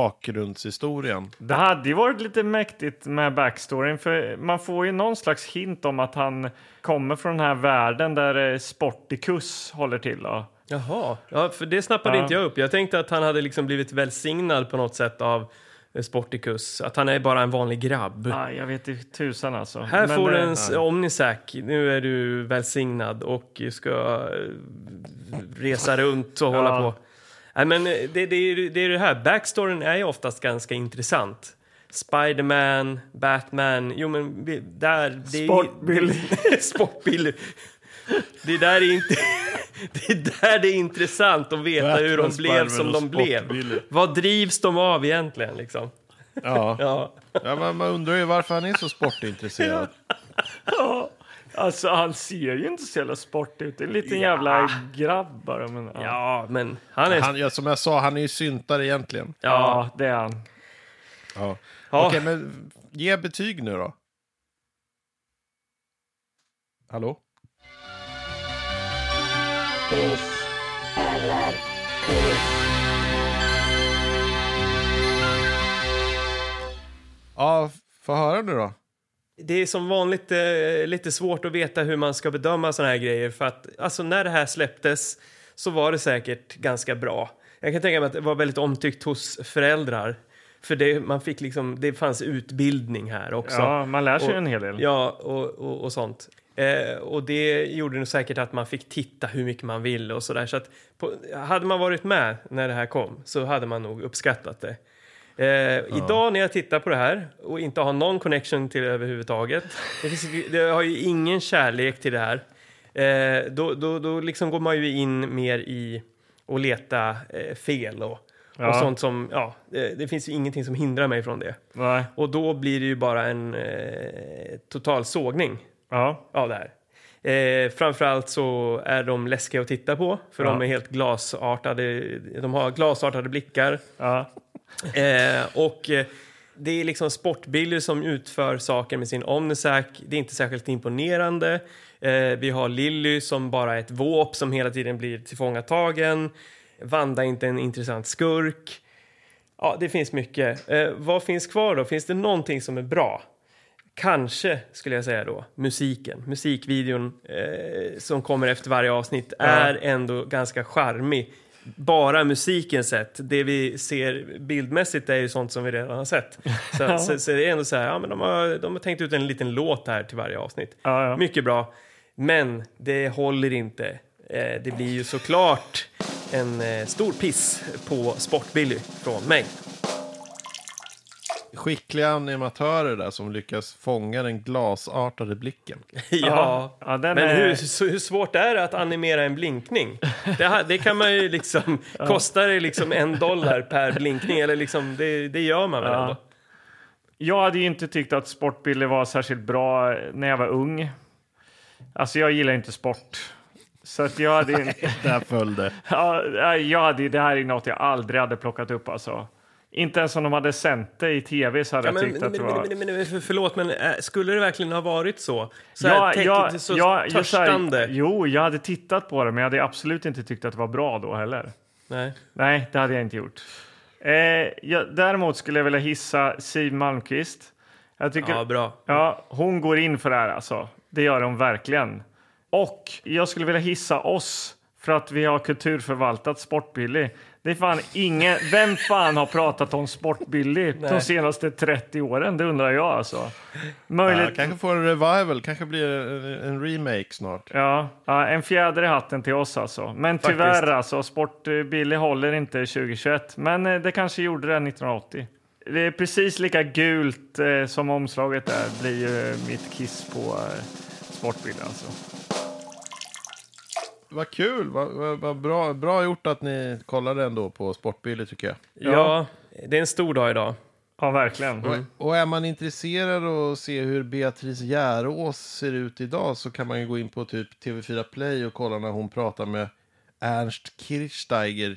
[SPEAKER 4] bakgrundshistorien?
[SPEAKER 1] Det hade ju varit lite mäktigt med backstoryn för man får ju någon slags hint om att han kommer från den här världen där eh, Sporticus håller till. Då.
[SPEAKER 2] Jaha, ja, för det snappade
[SPEAKER 1] Ja.
[SPEAKER 2] inte jag upp. Jag tänkte att han hade liksom blivit välsignad på något sätt av eh, Sporticus. Att han är bara en vanlig grabb.
[SPEAKER 1] Nej, jag vet inte tusan alltså.
[SPEAKER 2] Här
[SPEAKER 1] Men,
[SPEAKER 2] får du
[SPEAKER 1] eh,
[SPEAKER 2] en s- Omnisac. Nu är du välsignad och ska eh, resa runt och hålla på. Nej, men eh, det, det, är, ju- det är det här. Backstoryn är ju oftast ganska intressant. Spiderman, Batman, jo men vi- där... det är-
[SPEAKER 1] Sportbil.
[SPEAKER 2] Sportbil. Det är där det är inte... Det är där det är intressant att veta hur de
[SPEAKER 4] Batman,
[SPEAKER 2] blev som
[SPEAKER 4] Spiderman
[SPEAKER 2] de
[SPEAKER 4] och
[SPEAKER 2] blev.
[SPEAKER 4] sportbilar.
[SPEAKER 2] Vad drivs de av egentligen liksom?
[SPEAKER 4] Ja.
[SPEAKER 2] Ja.
[SPEAKER 4] ja man, man undrar ju varför han är så sportintresserad.
[SPEAKER 1] Ja, alltså han ser ju inte så jävla sportig ut. Det är en liten jävla grabb bara. Men, ja. Ja.
[SPEAKER 2] Ja, men han är...
[SPEAKER 4] Han, ja, som jag sa, han är ju syntare egentligen.
[SPEAKER 2] Ja,
[SPEAKER 1] det är han.
[SPEAKER 4] Ja.
[SPEAKER 2] Ja.
[SPEAKER 4] Okej, men ge betyg nu då. Hallå? Ja, få höra nu då.
[SPEAKER 2] Det är som vanligt eh, lite svårt att veta hur man ska bedöma såna här grejer för att alltså när det här släpptes så var det säkert ganska bra. Jag kan tänka mig att det var väldigt omtyckt hos föräldrar för det, man fick liksom, det fanns utbildning här också.
[SPEAKER 1] Ja, man lär sig
[SPEAKER 2] Och-
[SPEAKER 1] en hel del.
[SPEAKER 2] Ja, och, och, och sånt. Eh, och det gjorde nog säkert att man fick titta hur mycket man ville och sådär. Så att på, hade man varit med när det här kom så hade man nog uppskattat det. Eh, Idag när jag tittar på det här och inte har någon connection till det överhuvudtaget. Det finns, jag har ju ingen kärlek till det här. Eh, då då, då liksom går man ju in mer i att leta eh, fel och,
[SPEAKER 1] Ja.
[SPEAKER 2] och sånt som, ja, eh, det, det finns ju ingenting som hindrar mig från det.
[SPEAKER 1] Nej.
[SPEAKER 2] Och då blir det ju bara en eh, total sågning
[SPEAKER 1] Ja.
[SPEAKER 2] av det här. Eh, framförallt så är de läskiga att titta på för
[SPEAKER 1] Ja.
[SPEAKER 2] de är helt glasartade. De har glasartade blickar.
[SPEAKER 1] Ja.
[SPEAKER 2] Eh, och eh, det är liksom sportbilder som utför saker med sin Omnisac. Det är inte särskilt imponerande. Eh, vi har Lilly som bara är ett våp som hela tiden blir tillfångatagen. Vanda är inte en intressant skurk. Ja, det finns mycket. Eh, vad finns kvar då? Finns det någonting som är bra? Kanske skulle jag säga då, musiken. Musikvideon eh, som kommer efter varje avsnitt är ändå ganska charmig. Bara musiken sett. Det vi ser bildmässigt är ju sånt som vi redan har sett. Så, så, så det är ändå så här, ja men de har, de har tänkt ut en liten låt här till varje avsnitt.
[SPEAKER 1] Ja, ja.
[SPEAKER 2] Mycket bra. Men det håller inte. Eh, det blir ju såklart en eh, stor piss på Sportbilly från mig.
[SPEAKER 4] Skickliga animatörer där som lyckas fånga den glasartade blicken.
[SPEAKER 2] Ja,
[SPEAKER 1] Ja, den
[SPEAKER 2] men
[SPEAKER 1] är-
[SPEAKER 2] hur, så- hur svårt är det att animera en blinkning? Det, ha- det kan man ju liksom, kostar det liksom en dollar per blinkning eller liksom, det, det gör man väl
[SPEAKER 1] Ja.
[SPEAKER 2] ändå?
[SPEAKER 1] Jag hade ju inte tyckt att sportbilder var särskilt bra när jag var ung. Alltså jag gillar inte sport. Så att jag hade inte...
[SPEAKER 4] Där föll det.
[SPEAKER 1] Ja, nej, jag hade, ju- det här är något jag aldrig hade plockat upp alltså. Inte ens om de hade sänt det i tv så hade jag
[SPEAKER 2] Ja, men,
[SPEAKER 1] tyckt
[SPEAKER 2] men,
[SPEAKER 1] att det
[SPEAKER 2] men,
[SPEAKER 1] var...
[SPEAKER 2] men, men, för, förlåt, men äh, skulle det verkligen ha varit så? Så, här,
[SPEAKER 1] Ja,
[SPEAKER 2] täck-
[SPEAKER 1] ja,
[SPEAKER 2] så
[SPEAKER 1] ja, just så här-
[SPEAKER 2] törstande?
[SPEAKER 1] Jo, jag hade tittat på det, men jag hade absolut inte tyckt att det var bra då heller.
[SPEAKER 2] Nej.
[SPEAKER 1] Nej, det hade jag inte gjort. Eh, ja, däremot skulle jag vilja hissa Siw Malmkvist. Jag tycker,
[SPEAKER 2] Ja, bra.
[SPEAKER 1] Ja, hon går in för det här alltså. Det gör hon verkligen. Och jag skulle vilja hissa oss för att vi har kulturförvaltat Sportbilly. Det är fan ingen... Vem fan har pratat om Sportbilly de
[SPEAKER 4] Nej.
[SPEAKER 1] senaste 30 åren? Det undrar jag alltså.
[SPEAKER 4] Ja,
[SPEAKER 1] Möjligt...
[SPEAKER 4] kanske får en revival, kanske blir en, en remake snart.
[SPEAKER 1] Ja, ja, en fjäder i hatten till oss alltså. Men
[SPEAKER 4] Faktiskt.
[SPEAKER 1] tyvärr alltså, Sport eh, Billy håller inte 2021. Men eh, det kanske gjorde det 1980. Det är precis lika gult eh, som omslaget där blir ju mitt kiss på eh, Sport Billy alltså.
[SPEAKER 4] Vad kul, vad, vad, vad bra, bra gjort att ni kollade ändå på Sportbilly tycker jag.
[SPEAKER 2] Ja. det är en stor dag idag.
[SPEAKER 1] Ja, verkligen.
[SPEAKER 4] Och, och är man intresserad av att se hur Beatrice Järås ser ut idag så kan man ju gå in på typ TV4 Play och kolla när hon pratar med Ernst Kirchsteiger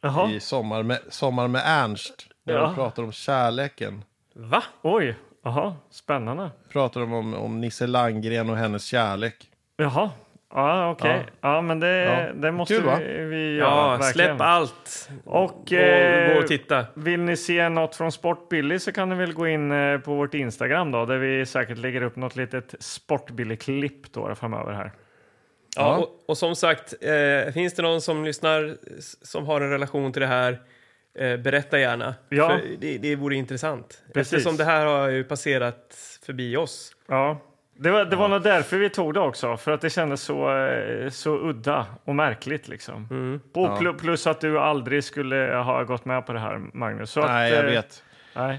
[SPEAKER 1] Jaha.
[SPEAKER 4] i Sommar med, sommar med Ernst. När
[SPEAKER 1] Ja.
[SPEAKER 4] de pratar om kärleken.
[SPEAKER 2] Va?
[SPEAKER 1] Oj, jaha, spännande.
[SPEAKER 4] Pratar de om, om Nisse Landgren och hennes kärlek.
[SPEAKER 1] Jaha, ja okej. Ja. men det,
[SPEAKER 4] Ja.
[SPEAKER 1] det måste
[SPEAKER 4] Kul, va?
[SPEAKER 1] vi, vi göra.
[SPEAKER 2] Ja,
[SPEAKER 1] verkligen.
[SPEAKER 2] släpp allt.
[SPEAKER 1] Och,
[SPEAKER 2] gå,
[SPEAKER 1] eh,
[SPEAKER 2] gå och titta.
[SPEAKER 1] Vill ni se något från Sportbilly så kan ni väl gå in eh, på vårt Instagram då, där vi säkert lägger upp något litet Sportbilly-klipp då framöver här.
[SPEAKER 2] Ja, och, och som sagt, eh, finns det någon som lyssnar s- som har en relation till det här, eh, berätta gärna.
[SPEAKER 1] Ja.
[SPEAKER 2] För det, det vore intressant.
[SPEAKER 1] Precis.
[SPEAKER 2] Eftersom det här har ju passerat förbi oss.
[SPEAKER 1] Ja. Det var, det var nog därför vi tog det också, för att det kändes så, eh, så udda och märkligt. Liksom. Och
[SPEAKER 4] Mm. Ja.
[SPEAKER 1] pl- plus att du aldrig skulle ha gått med på det här, Magnus. Så
[SPEAKER 4] Nej,
[SPEAKER 1] att,
[SPEAKER 4] jag
[SPEAKER 1] eh,
[SPEAKER 4] vet.
[SPEAKER 1] Nej.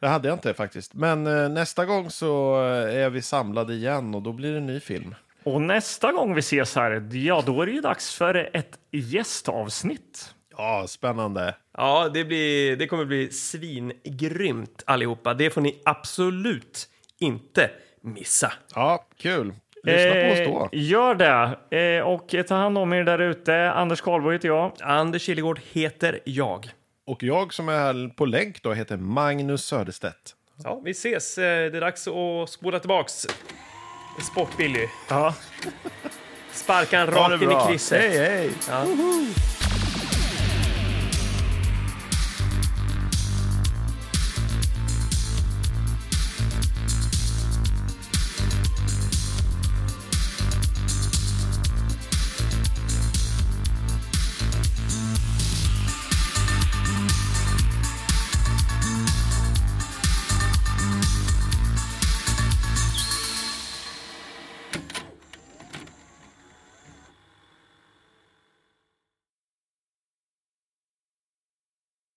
[SPEAKER 4] Det hade jag inte faktiskt. Men eh, nästa gång så eh, är vi samlade igen och då blir det en ny film.
[SPEAKER 1] Och nästa gång vi ses här, ja då är det ju dags för ett gästavsnitt.
[SPEAKER 4] Ja, spännande.
[SPEAKER 2] Ja, det, blir, det kommer bli svingrymt allihopa. Det får ni absolut inte missa.
[SPEAKER 4] Ja, kul. Lyssna på oss då.
[SPEAKER 1] Eh, Gör det. Eh, och ta hand om er där ute. Anders Karlborg heter jag.
[SPEAKER 2] Anders Killegård heter jag.
[SPEAKER 4] Och jag som är här på länk då heter Magnus Söderstedt.
[SPEAKER 2] Ja, vi ses. Eh, Det är dags att spola tillbaks. Sportbilly.
[SPEAKER 1] Ja.
[SPEAKER 2] Sparka en
[SPEAKER 4] Ha det
[SPEAKER 2] rakt in i
[SPEAKER 4] bra.
[SPEAKER 2] krysset.
[SPEAKER 4] Hej, hej.
[SPEAKER 2] Ja.